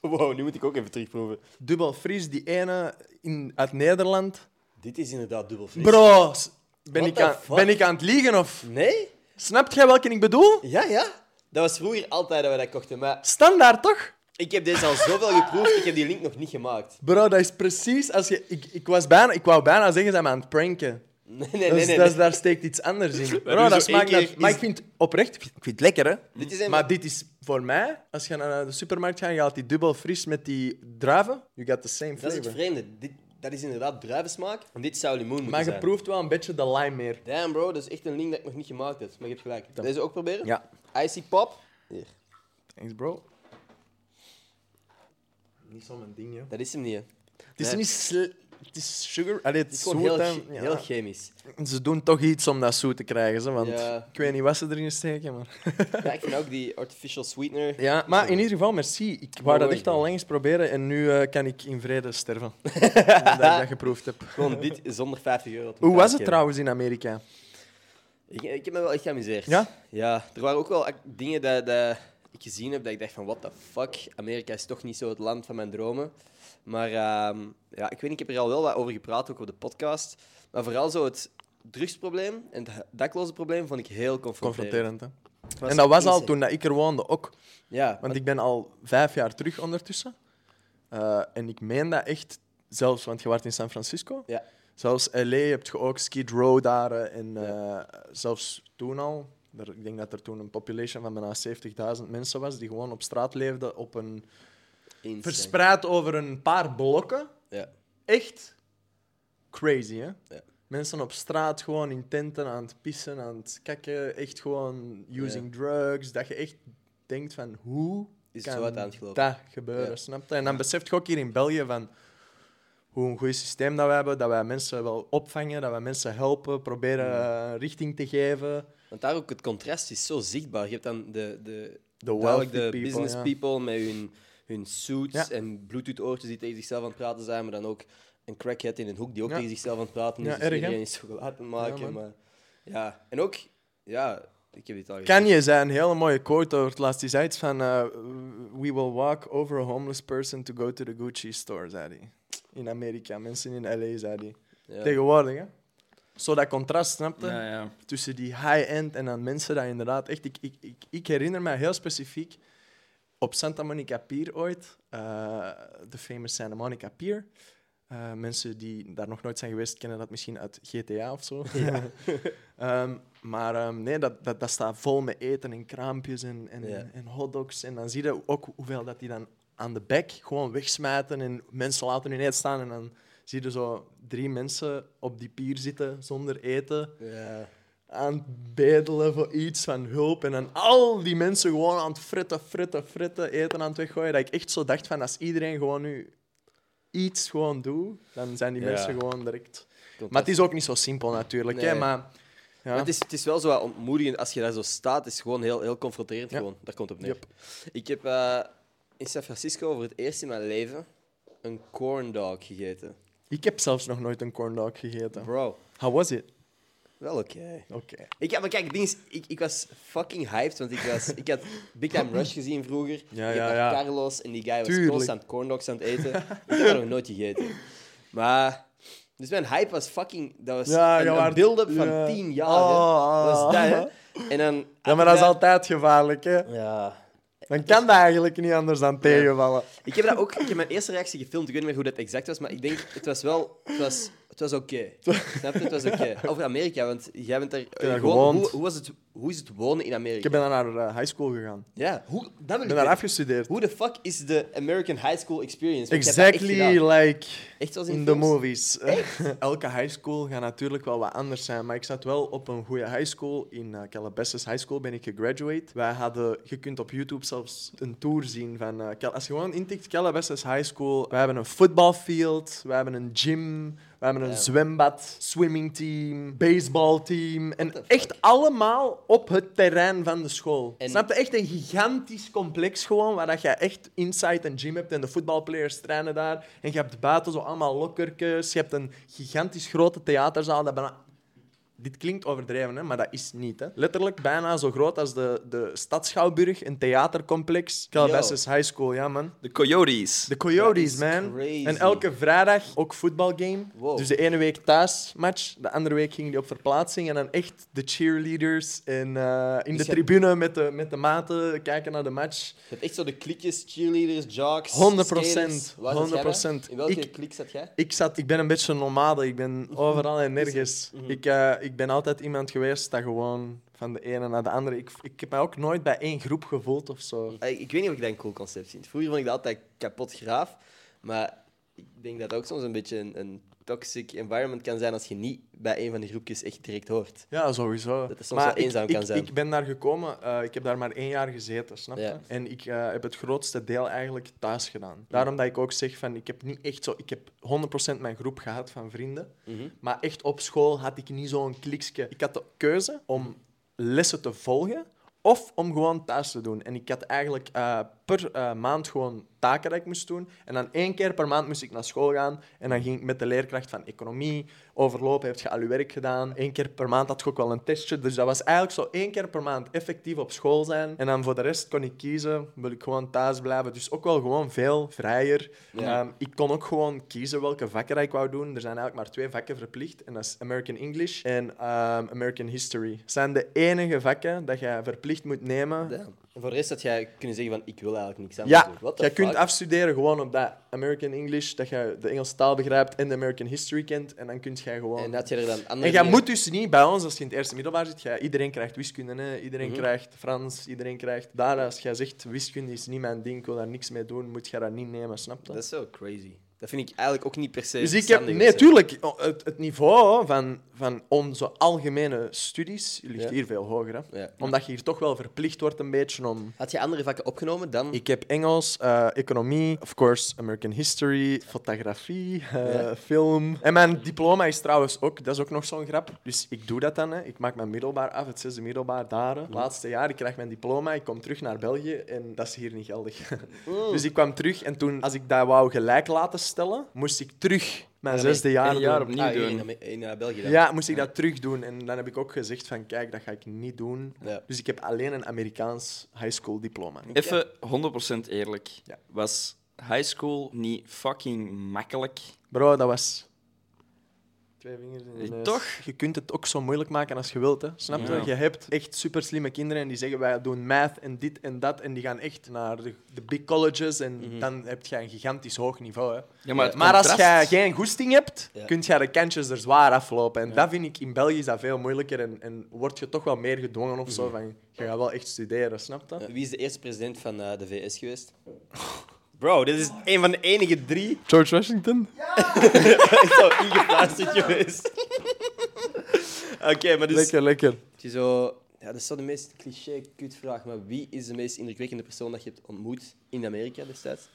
Speaker 1: Wow, nu moet ik ook even terugproeven.
Speaker 2: Dubbel fris, die ene in, uit Nederland.
Speaker 1: Dit is inderdaad dubbel fris.
Speaker 2: Bro, s- ben
Speaker 1: What
Speaker 2: ik,
Speaker 1: the
Speaker 2: aan,
Speaker 1: fuck?
Speaker 2: ben ik aan het liegen of...
Speaker 1: Nee?
Speaker 2: Snapt jij welke ik bedoel?
Speaker 1: Ja, ja. Dat was vroeger altijd dat we dat kochten, maar
Speaker 2: Standaard toch?
Speaker 1: Ik heb deze al zoveel geproefd, ik heb die link nog niet gemaakt.
Speaker 2: Bro, dat is precies als je... Ik, ik, was bijna, ik wou bijna zeggen, ze zijn me aan het pranken.
Speaker 1: Nee, nee, nee.
Speaker 2: Dat is-
Speaker 1: nee,
Speaker 2: dat
Speaker 1: nee.
Speaker 2: is- daar steekt iets anders in.
Speaker 3: doen
Speaker 2: Bro,
Speaker 3: zo
Speaker 2: dat
Speaker 3: één
Speaker 2: smaakt naar-
Speaker 3: keer
Speaker 2: Maar
Speaker 3: is-
Speaker 2: ik vind oprecht, ik vind ik vind het lekker, hè.
Speaker 1: Dit is een...
Speaker 2: Maar dit is voor mij, als je naar de supermarkt gaat, je haalt die dubbel fris met die druiven. You got the same
Speaker 1: dat is het
Speaker 2: flavor.
Speaker 1: vreemde. Dit, dat is inderdaad druivensmaak. En dit zou limoen moeten
Speaker 2: Maar je
Speaker 1: zijn.
Speaker 2: proeft wel een beetje de lime meer.
Speaker 1: Damn bro, dat is echt een link dat ik nog niet gemaakt heb. Maar je hebt gelijk. Deze ook proberen?
Speaker 2: Ja.
Speaker 1: Icy Pop. Hier.
Speaker 2: Thanks, bro. Niet zo mijn ding, joh.
Speaker 1: Dat is hem niet, hè.
Speaker 2: Het is
Speaker 1: Nee.
Speaker 2: niet sle- Het is sugar. Allee, het
Speaker 1: Het
Speaker 2: is
Speaker 1: is gewoon heel,
Speaker 2: zoet en-
Speaker 1: che-
Speaker 2: ja.
Speaker 1: heel chemisch.
Speaker 2: Ze doen toch iets om dat zoet te krijgen, zo, want
Speaker 1: Ja.
Speaker 2: ik weet niet wat ze erin steken, maar...
Speaker 1: Ja, ik vind ook die artificial sweetener.
Speaker 2: Ja, maar in ieder geval, merci. Ik wou dat
Speaker 1: Mooi,
Speaker 2: echt al
Speaker 1: man.
Speaker 2: lang eens proberen en nu eh, kan ik in vrede sterven. Omdat ik dat geproefd heb.
Speaker 1: Gewoon dit zonder 50 euro. te
Speaker 2: Hoe was het
Speaker 1: betalen.
Speaker 2: trouwens in Amerika?
Speaker 1: Ik, ik heb me wel echt geamuseerd.
Speaker 2: Ja?
Speaker 1: Ja, er waren ook wel ac- dingen dat, dat ik gezien heb dat ik dacht van, what the fuck, Amerika is toch niet zo het land van mijn dromen. Maar ehm, ja, ik weet niet, ik heb er al wel wat over gepraat, ook op de podcast. Maar vooral zo het drugsprobleem en het dakloze probleem vond ik heel confronterend.
Speaker 2: Confronterend, hè?
Speaker 1: Was
Speaker 2: en dat was al
Speaker 1: insane.
Speaker 2: toen dat ik er woonde ook.
Speaker 1: Ja,
Speaker 2: Want ik ben al vijf jaar terug ondertussen. Eh, en ik meen dat echt zelfs, want je was in San Francisco.
Speaker 1: Ja.
Speaker 2: Zelfs LA heb je ook Skid Row daar. eh, En eh, zelfs toen al, er- ik denk dat er toen een population van bijna 70.000 mensen was die gewoon op straat leefden, op een,
Speaker 1: insane.
Speaker 2: verspreid over een paar blokken.
Speaker 1: Ja.
Speaker 2: Echt crazy, hè?
Speaker 1: Ja.
Speaker 2: Mensen op straat gewoon in tenten aan het pissen, aan het kakken. Echt gewoon using drugs. Dat je echt denkt van, hoe
Speaker 1: Is het
Speaker 2: kan
Speaker 1: zo uit de hand gelopen?
Speaker 2: dat gebeuren,
Speaker 1: Ja.
Speaker 2: snap je? En dan beseft je ook hier in België van hoe een goed systeem dat we hebben. Dat wij mensen wel opvangen, dat wij mensen helpen, proberen
Speaker 1: Mm.
Speaker 2: eh, richting te geven.
Speaker 1: Want daar ook het contrast is zo zichtbaar. Je hebt dan de, de,
Speaker 2: De
Speaker 1: duidelijk
Speaker 2: wealthy
Speaker 1: de
Speaker 2: people,
Speaker 1: business
Speaker 2: ja.
Speaker 1: people met hun, hun suits
Speaker 2: Ja.
Speaker 1: en bluetooth-oortjes die tegen zichzelf aan het praten zijn, maar dan ook een crackhead in een hoek die ook
Speaker 2: Ja.
Speaker 1: tegen zichzelf aan het praten is.
Speaker 2: Ja,
Speaker 1: dus
Speaker 2: erg, hè?
Speaker 1: iedereen is chocolade aan het maken.
Speaker 2: Ja, man.
Speaker 1: maar, ja. En ook, ja, ik heb dit al gezegd.
Speaker 2: Kanye zei een hele mooie quote over het laatst. Die zei iets van... eh, We will walk over a homeless person to go to the Gucci store, zei hij. In Amerika, mensen in L.A., zei hij.
Speaker 1: Ja.
Speaker 2: Tegenwoordig, hè. Zo dat contrast, snapte?
Speaker 3: Ja, ja.
Speaker 2: Tussen die high-end en dan mensen dat inderdaad echt... Ik, ik, ik, ik herinner mij heel specifiek op Santa Monica Pier ooit. eh, De famous Santa Monica Pier. Eh, mensen die daar nog nooit zijn geweest, kennen dat misschien uit GTA of zo. Ehm, maar ehm, nee, dat, dat, dat staat vol met eten en kraampjes en, en,
Speaker 1: Ja.
Speaker 2: en hotdogs. En dan zie je ook hoeveel dat die dan aan de bek gewoon wegsmijten en mensen laten hun eten staan. En dan zie je zo drie mensen op die pier zitten zonder eten,
Speaker 1: Ja.
Speaker 2: aan het bedelen voor iets van hulp. En dan al die mensen gewoon aan het fritten, fritten, fritten, eten aan het weggooien. Dat ik echt zo dacht van, als iedereen gewoon nu iets gewoon doet, dan zijn die
Speaker 1: Ja.
Speaker 2: mensen gewoon direct... Maar het is ook niet zo simpel natuurlijk, hè,
Speaker 1: Nee.
Speaker 2: maar... Ja.
Speaker 1: Maar het, is, het is wel zo wat ontmoedigend als je daar zo staat. Het is gewoon heel, heel confronterend.
Speaker 2: Ja.
Speaker 1: Gewoon. Daar komt het op neer.
Speaker 2: Yep.
Speaker 1: Ik heb eh, in San Francisco voor het eerst in mijn leven een corn dog gegeten.
Speaker 2: Ik heb zelfs nog nooit een corndog gegeten.
Speaker 1: Bro,
Speaker 2: How was it?
Speaker 1: wel oké.
Speaker 2: Oké.
Speaker 1: Ik, ja, maar kijk, het ding is, ik, ik was fucking hyped, want ik, was, ik had Big Time Rush gezien vroeger.
Speaker 2: Ja,
Speaker 1: ik
Speaker 2: ja,
Speaker 1: had
Speaker 2: ja.
Speaker 1: daar Carlos en die guy was
Speaker 2: Tuurlijk.
Speaker 1: constant corndogs aan het eten. ik heb dat nog nooit gegeten. Maar, dus mijn hype was fucking, dat was
Speaker 2: Ja,
Speaker 1: een,
Speaker 2: je
Speaker 1: een
Speaker 2: waart-
Speaker 1: build-up
Speaker 2: ja.
Speaker 1: van 10 jaar.
Speaker 2: Oh,
Speaker 1: hè. Dat was dat, hè.
Speaker 2: ah.
Speaker 1: En dan...
Speaker 2: Ja, maar dat is altijd gevaarlijk, hè?
Speaker 1: Ja.
Speaker 2: Dan kan dat eigenlijk niet anders dan tegenvallen.
Speaker 1: Ik heb dat ook, ik heb mijn eerste reactie gefilmd, ik weet niet meer hoe dat exact was, maar ik denk, het was wel, het was, het was oké. Snap je? Het was oké. Over Amerika, want jij bent daar...
Speaker 2: daar
Speaker 1: gewoon-
Speaker 2: gewoond.
Speaker 1: hoe, hoe, was het, hoe is het wonen in Amerika?
Speaker 2: Ik ben dan naar eh, high school gegaan.
Speaker 1: Ja, hoe, dat wil ik
Speaker 2: Ik ben daar
Speaker 1: weten.
Speaker 2: afgestudeerd.
Speaker 1: Hoe de fuck is de American high school experience? Want ik heb dat echt
Speaker 2: Exactly
Speaker 1: gedaan.
Speaker 2: like
Speaker 1: Echt zoals in
Speaker 2: in the
Speaker 1: films?
Speaker 2: movies. Elke high school gaat natuurlijk wel wat anders zijn, maar ik zat wel op een goede high school. In eh, Calabasas High School ben ik gegraduate. Wij hadden, je kunt op YouTube zelfs een tour zien van, eh, Cal- als je gewoon intikt Calabasas High School. Wij hebben een voetbalfield, wij hebben een gym, wij hebben een
Speaker 1: Ja.
Speaker 2: zwembad, swimmingteam, baseballteam. En
Speaker 1: the fuck?
Speaker 2: echt allemaal op het terrein van de school.
Speaker 1: En-
Speaker 2: Snap je? Echt een gigantisch complex gewoon, waar dat je echt inside een gym hebt en de voetbalplayers trainen daar. En je hebt buiten zo allemaal lokkertjes. Je hebt een gigantisch grote theaterzaal dat bijna Dit klinkt overdreven, hè, maar dat is niet. Hè. Letterlijk bijna zo groot als de, de Stadschouwburg, een theatercomplex. Calabasas High School, ja man.
Speaker 3: De Coyotes.
Speaker 2: De Coyotes,
Speaker 1: Dat is
Speaker 2: man.
Speaker 1: crazy.
Speaker 2: En elke vrijdag ook voetbalgame.
Speaker 1: Wow.
Speaker 2: Dus de ene week thuismatch, de andere week gingen die op verplaatsing. En dan echt de cheerleaders en, eh, in de
Speaker 1: Dus je-
Speaker 2: tribune met de, met de maten kijken naar de match.
Speaker 1: Je hebt echt zo de klikjes, cheerleaders, jocks,
Speaker 2: 100%,
Speaker 1: skaters. Waar zat jij bij?
Speaker 2: 100%.
Speaker 1: In welke
Speaker 2: Ik-
Speaker 1: klik zat jij?
Speaker 2: Ik, zat, ik ben een beetje een nomade, ik ben overal en nergens.
Speaker 1: Mhm.
Speaker 2: Ik, eh, ik ben altijd iemand geweest dat gewoon van de ene naar de andere. Ik, ik heb mij ook nooit bij één groep gevoeld of zo.
Speaker 1: Eh, Ik weet niet of ik dat een cool concept vind. Vroeger vond ik dat altijd kapot graaf. Maar ik denk dat het ook soms een beetje een, een toxic environment kan zijn als je niet bij een van die groepjes echt direct hoort.
Speaker 2: Ja, sowieso.
Speaker 1: Dat het soms wel eenzaam
Speaker 2: ik,
Speaker 1: kan
Speaker 2: ik,
Speaker 1: zijn.
Speaker 2: Ik ben daar gekomen, eh, ik heb daar maar één jaar gezeten, snap je?
Speaker 1: Ja.
Speaker 2: En ik eh, heb het grootste deel eigenlijk thuis gedaan. Daarom dat ik ook zeg van, ik heb niet echt zo, ik heb 100% mijn groep gehad van vrienden. Maar echt op school had ik niet zo'n kliksje. Ik had de keuze om lessen te volgen of om gewoon thuis te doen. En ik had eigenlijk eh, per eh, maand gewoon taken dat ik moest doen. En dan één keer per maand moest ik naar school gaan. En dan ging ik met de leerkracht van economie overlopen. Heb je al je werk gedaan? Eén keer per maand had ik ook wel een testje. Dus dat was eigenlijk zo één keer per maand effectief op school zijn. En dan voor de rest kon ik kiezen. Wil ik gewoon thuis blijven? Dus ook wel gewoon veel vrijer.
Speaker 1: Ja.
Speaker 2: Ehm, ik kon ook gewoon kiezen welke vakken dat ik wou doen. Er zijn eigenlijk maar twee vakken verplicht. En dat is American English en ehm, American History. Dat zijn de enige vakken dat jij verplicht moet nemen.
Speaker 1: Ja. En voor de rest had jij kunnen zeggen van ik wil eigenlijk niks aan
Speaker 2: Ja,
Speaker 1: doen. What the
Speaker 2: jij kunt
Speaker 1: fuck?
Speaker 2: afstuderen gewoon op dat American English, dat je de Engelse taal begrijpt en de American History kent. En dan kun jij gewoon...
Speaker 1: En had je er dan andere
Speaker 2: En jij
Speaker 1: dingen-
Speaker 2: moet dus niet bij ons, als je in het eerste middelbaar zit, jij, iedereen krijgt wiskunde, hè? iedereen
Speaker 1: Mhm.
Speaker 2: krijgt Frans, iedereen krijgt... Daar, als jij zegt, wiskunde is niet mijn ding, ik wil daar niks mee doen, moet jij dat niet nemen, snap je?
Speaker 1: Dat is zo crazy. Dat vind ik eigenlijk ook niet per se
Speaker 2: Dus ik heb,
Speaker 1: verstandig
Speaker 2: nee,
Speaker 1: of zo.
Speaker 2: tuurlijk, o- het, het niveau van, van onze algemene studies ligt
Speaker 1: Ja.
Speaker 2: hier veel hoger. Hè?
Speaker 1: Ja.
Speaker 2: Omdat je hier toch wel verplicht wordt een beetje om...
Speaker 1: Had je andere vakken opgenomen dan?
Speaker 2: Ik heb Engels, eh, economie, of course, American history, fotografie, eh,
Speaker 1: Ja.
Speaker 2: film. En mijn diploma is trouwens ook, dat is ook nog zo'n grap. Dus ik doe dat dan. Hè. Ik maak mijn middelbaar af, het zesde middelbaar daar. hè. Laatste jaar, ik krijg mijn diploma, ik kom terug naar België en dat is hier niet geldig. Dus ik kwam terug en toen, als ik dat wou gelijk laten stellen, moest ik terug mijn
Speaker 1: Ja,
Speaker 2: zesde jaar
Speaker 3: Eén jaar
Speaker 2: doen.
Speaker 3: opnieuw
Speaker 1: Ah, hier
Speaker 3: doen.
Speaker 1: in, Ame- in, eh, België dan?
Speaker 2: Ja, moest ik dat terug doen. En dan heb ik ook gezegd van, kijk, dat ga ik niet doen.
Speaker 1: Ja.
Speaker 2: Dus ik heb alleen een Amerikaans high school diploma.
Speaker 3: Even 100% eerlijk.
Speaker 2: Ja.
Speaker 3: Was high school niet fucking makkelijk?
Speaker 2: Bro, dat was. Twee vingers in
Speaker 3: Eh, toch?
Speaker 2: Je kunt het ook zo moeilijk maken als je wilt, hè? Snap je?
Speaker 3: Ja.
Speaker 2: Je hebt echt super slimme kinderen en die zeggen wij doen math en dit en dat. En die gaan echt naar de, de big colleges en dan heb je een gigantisch hoog niveau. Hè?
Speaker 3: Ja, maar het
Speaker 2: Maar als jij
Speaker 3: Eh, contrast-
Speaker 2: geen goesting hebt,
Speaker 1: Ja.
Speaker 2: kun je de kantjes er zwaar aflopen. En dat vind ik in België is dat veel moeilijker en, en word je toch wel meer gedwongen of zo. Van, je gaat wel echt studeren, snap je?
Speaker 1: Ja. Wie is de eerste president van eh, de VS geweest? Bro, dit is een van de enige drie
Speaker 2: George Washington?
Speaker 1: zo ingeplaatst geweest. Oké, maar dus...
Speaker 2: Lekker, lekker.
Speaker 1: Het is zo... Ja, dat is zo de meest cliché kutvraag, maar wie is de meest indrukwekkende persoon dat je hebt ontmoet in Amerika destijds?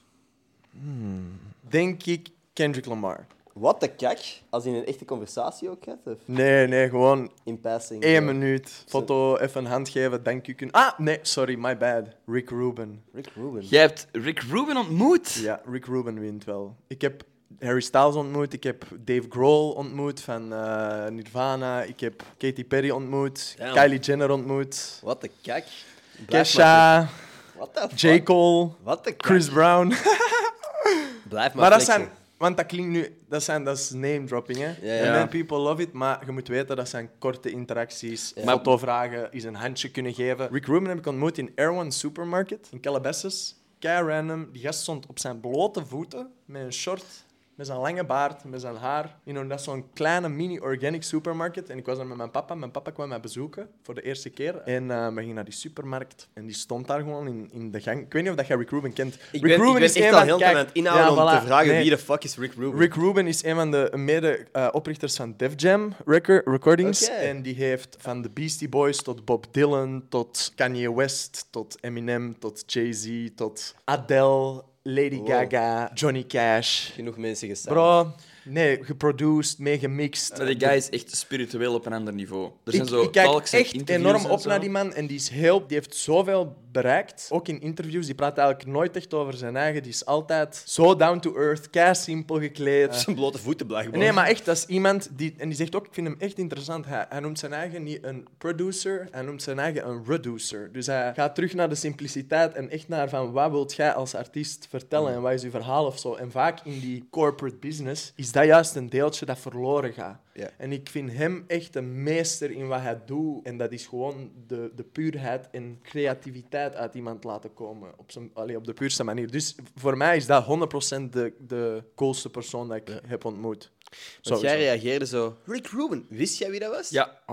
Speaker 2: Denk ik Kendrick Lamar.
Speaker 1: Wat de kak? Als in een echte conversatie ook, hè? Of
Speaker 2: Nee, nee, gewoon
Speaker 1: in passing?
Speaker 2: Eén
Speaker 1: zo?
Speaker 2: minuut. Foto, even een hand geven, dank u kunnen. Ah, nee, sorry, my bad. Rick Rubin.
Speaker 1: Rick Rubin.
Speaker 3: Jij hebt Rick Rubin ontmoet.
Speaker 2: Ja, Rick Rubin wint wel. Ik heb Harry Styles ontmoet, ik heb Dave Grohl ontmoet van eh, Nirvana, ik heb Katy Perry ontmoet,
Speaker 1: Damn.
Speaker 2: Kylie Jenner ontmoet,
Speaker 1: Wat de kak? Blijf maar-
Speaker 2: Kesha,
Speaker 1: What the fuck?
Speaker 2: J. Cole,
Speaker 1: Wat de kak?
Speaker 2: Chris Brown.
Speaker 1: Blijf maar,
Speaker 2: Maar dat
Speaker 1: flexen.
Speaker 2: zijn... Want dat klinkt nu... Dat, zijn, dat is name dropping, hè?
Speaker 1: Ja,
Speaker 2: And
Speaker 3: ja.
Speaker 2: then people love it, maar je moet weten, dat zijn korte interacties.
Speaker 3: Maar-
Speaker 2: Fotovragen, eens een handje kunnen geven. Rick Rubin heb ik ontmoet in Air One Supermarket in Calabasas. Kei random. Die gast stond op zijn blote voeten met een short... Met zijn lange baard, met zijn haar. You know, dat is zo'n kleine mini-organic supermarket. En ik was daar met mijn papa. Mijn papa kwam mij bezoeken voor de eerste keer. En eh, we gingen naar die supermarkt. En die stond daar gewoon in, in de gang. Ik weet niet of dat jij Rick Rubin kent.
Speaker 1: Ik
Speaker 2: Rick
Speaker 1: ben,
Speaker 2: Rubin
Speaker 1: ik ben
Speaker 2: is
Speaker 1: echt
Speaker 2: een
Speaker 1: al
Speaker 2: van-
Speaker 1: heel tijd
Speaker 2: kijk,
Speaker 1: aan het inhouden
Speaker 2: ja,
Speaker 1: om
Speaker 2: voilà.
Speaker 1: te vragen
Speaker 2: Nee.
Speaker 1: wie de fuck is Rick Rubin.
Speaker 2: Rick Rubin is een van de mede-oprichters van Def Jam record, Recordings.
Speaker 1: Oké.
Speaker 2: En die heeft van de Beastie Boys tot Bob Dylan, tot Kanye West, tot Eminem, tot Jay-Z, tot Adele, Lady
Speaker 1: Wow.
Speaker 2: Gaga, Johnny Cash.
Speaker 1: Genoeg mensen gestaan.
Speaker 2: Bro, nee, geproduced, meegemixt.
Speaker 3: Die guy is echt spiritueel op een ander niveau. Er zijn
Speaker 2: Ik,
Speaker 3: zo
Speaker 2: ik kijk
Speaker 3: talks en
Speaker 2: echt
Speaker 3: interviews
Speaker 2: enorm
Speaker 3: en
Speaker 2: op
Speaker 3: zo.
Speaker 2: naar die man en die is heel, die heeft zoveel bereikt. Ook in interviews, die praat eigenlijk nooit echt over zijn eigen. Die is altijd zo down to earth, kei simpel gekleed.
Speaker 1: Zijn blote voeten blijkbaar.
Speaker 2: eh, Nee, maar echt, dat is iemand die... En die zegt ook, ik vind hem echt interessant. Hij, hij noemt zijn eigen niet een producer, hij noemt zijn eigen een reducer. Dus hij gaat terug naar de simpliciteit en echt naar van, wat wilt jij als artiest vertellen en wat is uw verhaal of zo. En vaak in die corporate business is dat juist een deeltje dat verloren gaat.
Speaker 1: Ja.
Speaker 2: En ik vind hem echt een meester in wat hij doet. En dat is gewoon de, de puurheid en creativiteit uit iemand laten komen. Op, zijn, allee, op de puurste manier. Dus voor mij is dat 100% de, de coolste persoon dat ik heb ontmoet.
Speaker 1: Want
Speaker 2: Sowieso.
Speaker 1: jij reageerde zo. Rick Rubin, wist jij wie dat was?
Speaker 3: Ja, 100%.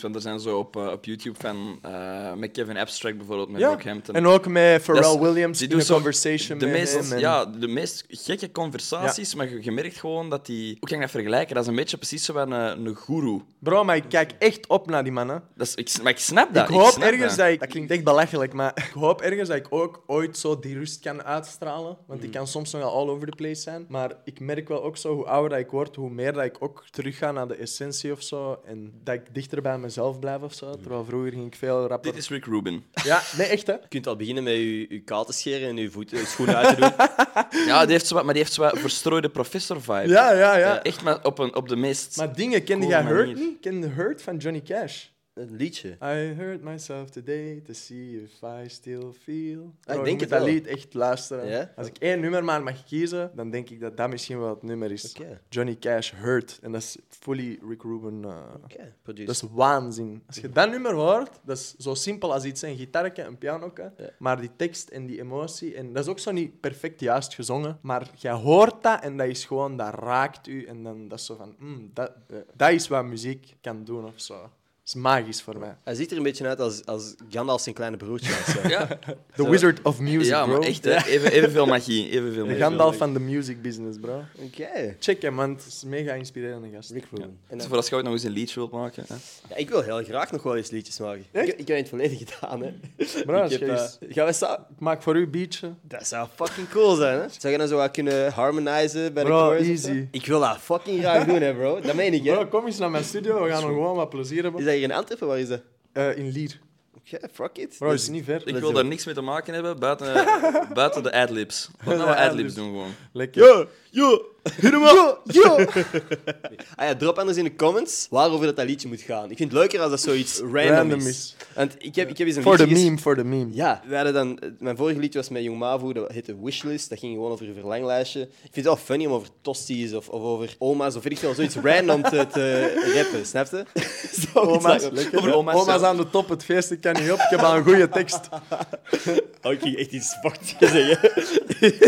Speaker 3: Want er zijn zo op, eh, op YouTube van eh, met Kevin Abstract bijvoorbeeld, met Brockhampton.
Speaker 2: En ook met Pharrell
Speaker 3: Dat is-
Speaker 2: Williams
Speaker 3: die
Speaker 2: in
Speaker 3: doen
Speaker 2: een
Speaker 3: zo
Speaker 2: conversation
Speaker 3: de
Speaker 2: met
Speaker 3: meest,
Speaker 2: hem en-
Speaker 3: Ja, de meest gekke conversaties, maar je, je merkt gewoon dat die... Hoe kan ik dat vergelijken? Dat is een beetje precies zo van een, een guru.
Speaker 2: Bro, maar ik kijk echt op naar die mannen.
Speaker 3: Dat is, ik, maar ik snap dat.
Speaker 2: ik hoop
Speaker 3: snap
Speaker 2: ergens
Speaker 3: dat.
Speaker 2: dat ik... Dat klinkt echt belachelijk, maar ik hoop ergens dat ik ook ooit zo die rust kan uitstralen. Want
Speaker 3: Mm.
Speaker 2: ik kan soms nogal all over the place zijn. Maar ik merk wel ook zo, hoe ouder dat ik word, hoe meer dat ik ook terugga naar de essentie of zo. En dat ik dichter bij mezelf blijf of zo. Terwijl vroeger ging ik veel rapper...
Speaker 3: Mm. Dit is Rick Rubin.
Speaker 2: Ja, nee, echt hè.
Speaker 1: Je kunt al beginnen met je, je kaal te scheren en je voeten, je schoenen uit te doen.
Speaker 3: Ja, die heeft zo wat, maar die heeft zo wat verstrooide professor-vibe.
Speaker 2: Ja, ja, ja.
Speaker 3: Eh, echt maar op, een, op de meest...
Speaker 2: Maar dingen, kende
Speaker 3: Coole
Speaker 2: jij Hurt
Speaker 3: manier.
Speaker 2: niet? Kende Hurt van Johnny Cash?
Speaker 1: Een liedje.
Speaker 2: I hurt myself today to see if I still feel.
Speaker 1: Ah, ik
Speaker 2: Bro,
Speaker 1: denk
Speaker 2: je
Speaker 1: het
Speaker 2: moet dat
Speaker 1: wel.
Speaker 2: lied echt luisteren.
Speaker 1: Ja?
Speaker 2: Als ik één nummer maar mag kiezen, dan denk ik dat dat misschien wel het nummer is.
Speaker 1: Oké.
Speaker 2: Johnny Cash, Hurt. En dat is fully Rick Rubin. eh,
Speaker 1: Oké, producer.
Speaker 2: Dat is waanzin. Als je dat nummer hoort, dat is zo simpel als iets. Een gitaarke, een pianoke.
Speaker 1: Ja.
Speaker 2: Maar die tekst en die emotie. En dat is ook zo niet perfect juist gezongen. Maar jij hoort dat en dat is gewoon, dat raakt u. En dan dat is zo van, mm, dat, dat is wat muziek kan doen of zo. Dat is magisch voor mij.
Speaker 1: Hij ziet er een beetje uit als, als Gandalf zijn kleine broertje. of zo.
Speaker 3: Ja,
Speaker 2: The Wizard of Music,
Speaker 3: ja
Speaker 2: bro.
Speaker 3: maar echt, hè. Even, evenveel magie. Evenveel
Speaker 2: De
Speaker 3: magie.
Speaker 2: Gandalf van de music business, bro.
Speaker 1: Oké.
Speaker 2: Check hem, want het is een mega inspirerende gast.
Speaker 1: Rick Rubin. En
Speaker 3: Dus
Speaker 1: dan-
Speaker 3: voor als je ooit nog eens een liedje wilt maken. Hè.
Speaker 1: Ja, ik wil heel graag nog wel eens liedjes maken. Ik, ik heb het in het verleden gedaan, hè.
Speaker 2: Bro,
Speaker 1: ik
Speaker 2: als
Speaker 1: heb,
Speaker 2: je eens-
Speaker 1: eh, gaan we samen?
Speaker 2: ik maak voor u beatje.
Speaker 1: Dat zou fucking cool zijn, hè. Zou je dan zo wat kunnen harmonizen bij de
Speaker 2: Bro,
Speaker 1: chorus of
Speaker 2: easy.
Speaker 1: zo? Ik wil dat fucking graag doen, hè, bro. Dat meen ik, hè.
Speaker 2: Bro, kom eens naar mijn studio, we gaan nog gewoon wat plezier hebben.
Speaker 1: Is dat hier in Antwerpen? Waar is dat?
Speaker 2: Eh, in Lier.
Speaker 1: Oké, fuck it.
Speaker 2: Bro, is niet ver.
Speaker 3: Ik
Speaker 1: Let's
Speaker 3: wil
Speaker 1: do
Speaker 3: daar niks mee te maken hebben buiten, buiten de adlibs. Laten we adlibs doen gewoon.
Speaker 2: Lekker.
Speaker 1: Yo, yo, helemaal. Yo, yo. Ah ja, drop anders in de comments waarover dat, dat liedje moet gaan. Ik vind het leuker als dat zoiets random,
Speaker 2: Random
Speaker 1: is.
Speaker 2: is.
Speaker 1: Want ik heb, ik heb eens een
Speaker 2: Voor de
Speaker 1: liedje ges-
Speaker 2: meme, voor de meme.
Speaker 1: Ja, we hadden dan, eh, mijn vorige liedje was met Jong Mavo, dat heette Wishlist. Dat ging gewoon over een verlanglijstje. Ik vind het wel funny om over tosti's of, of over oma's of weet ik veel, zoiets random te, te rappen, snap je? Zoiets
Speaker 2: Oma's,
Speaker 1: daarop.
Speaker 2: lekker.
Speaker 3: Over oma's,
Speaker 2: Oma's
Speaker 3: ja.
Speaker 2: aan de top, het feest, ik kan niet op. Ik heb al een goede tekst.
Speaker 1: Oh, ik ging echt iets fucked zeggen.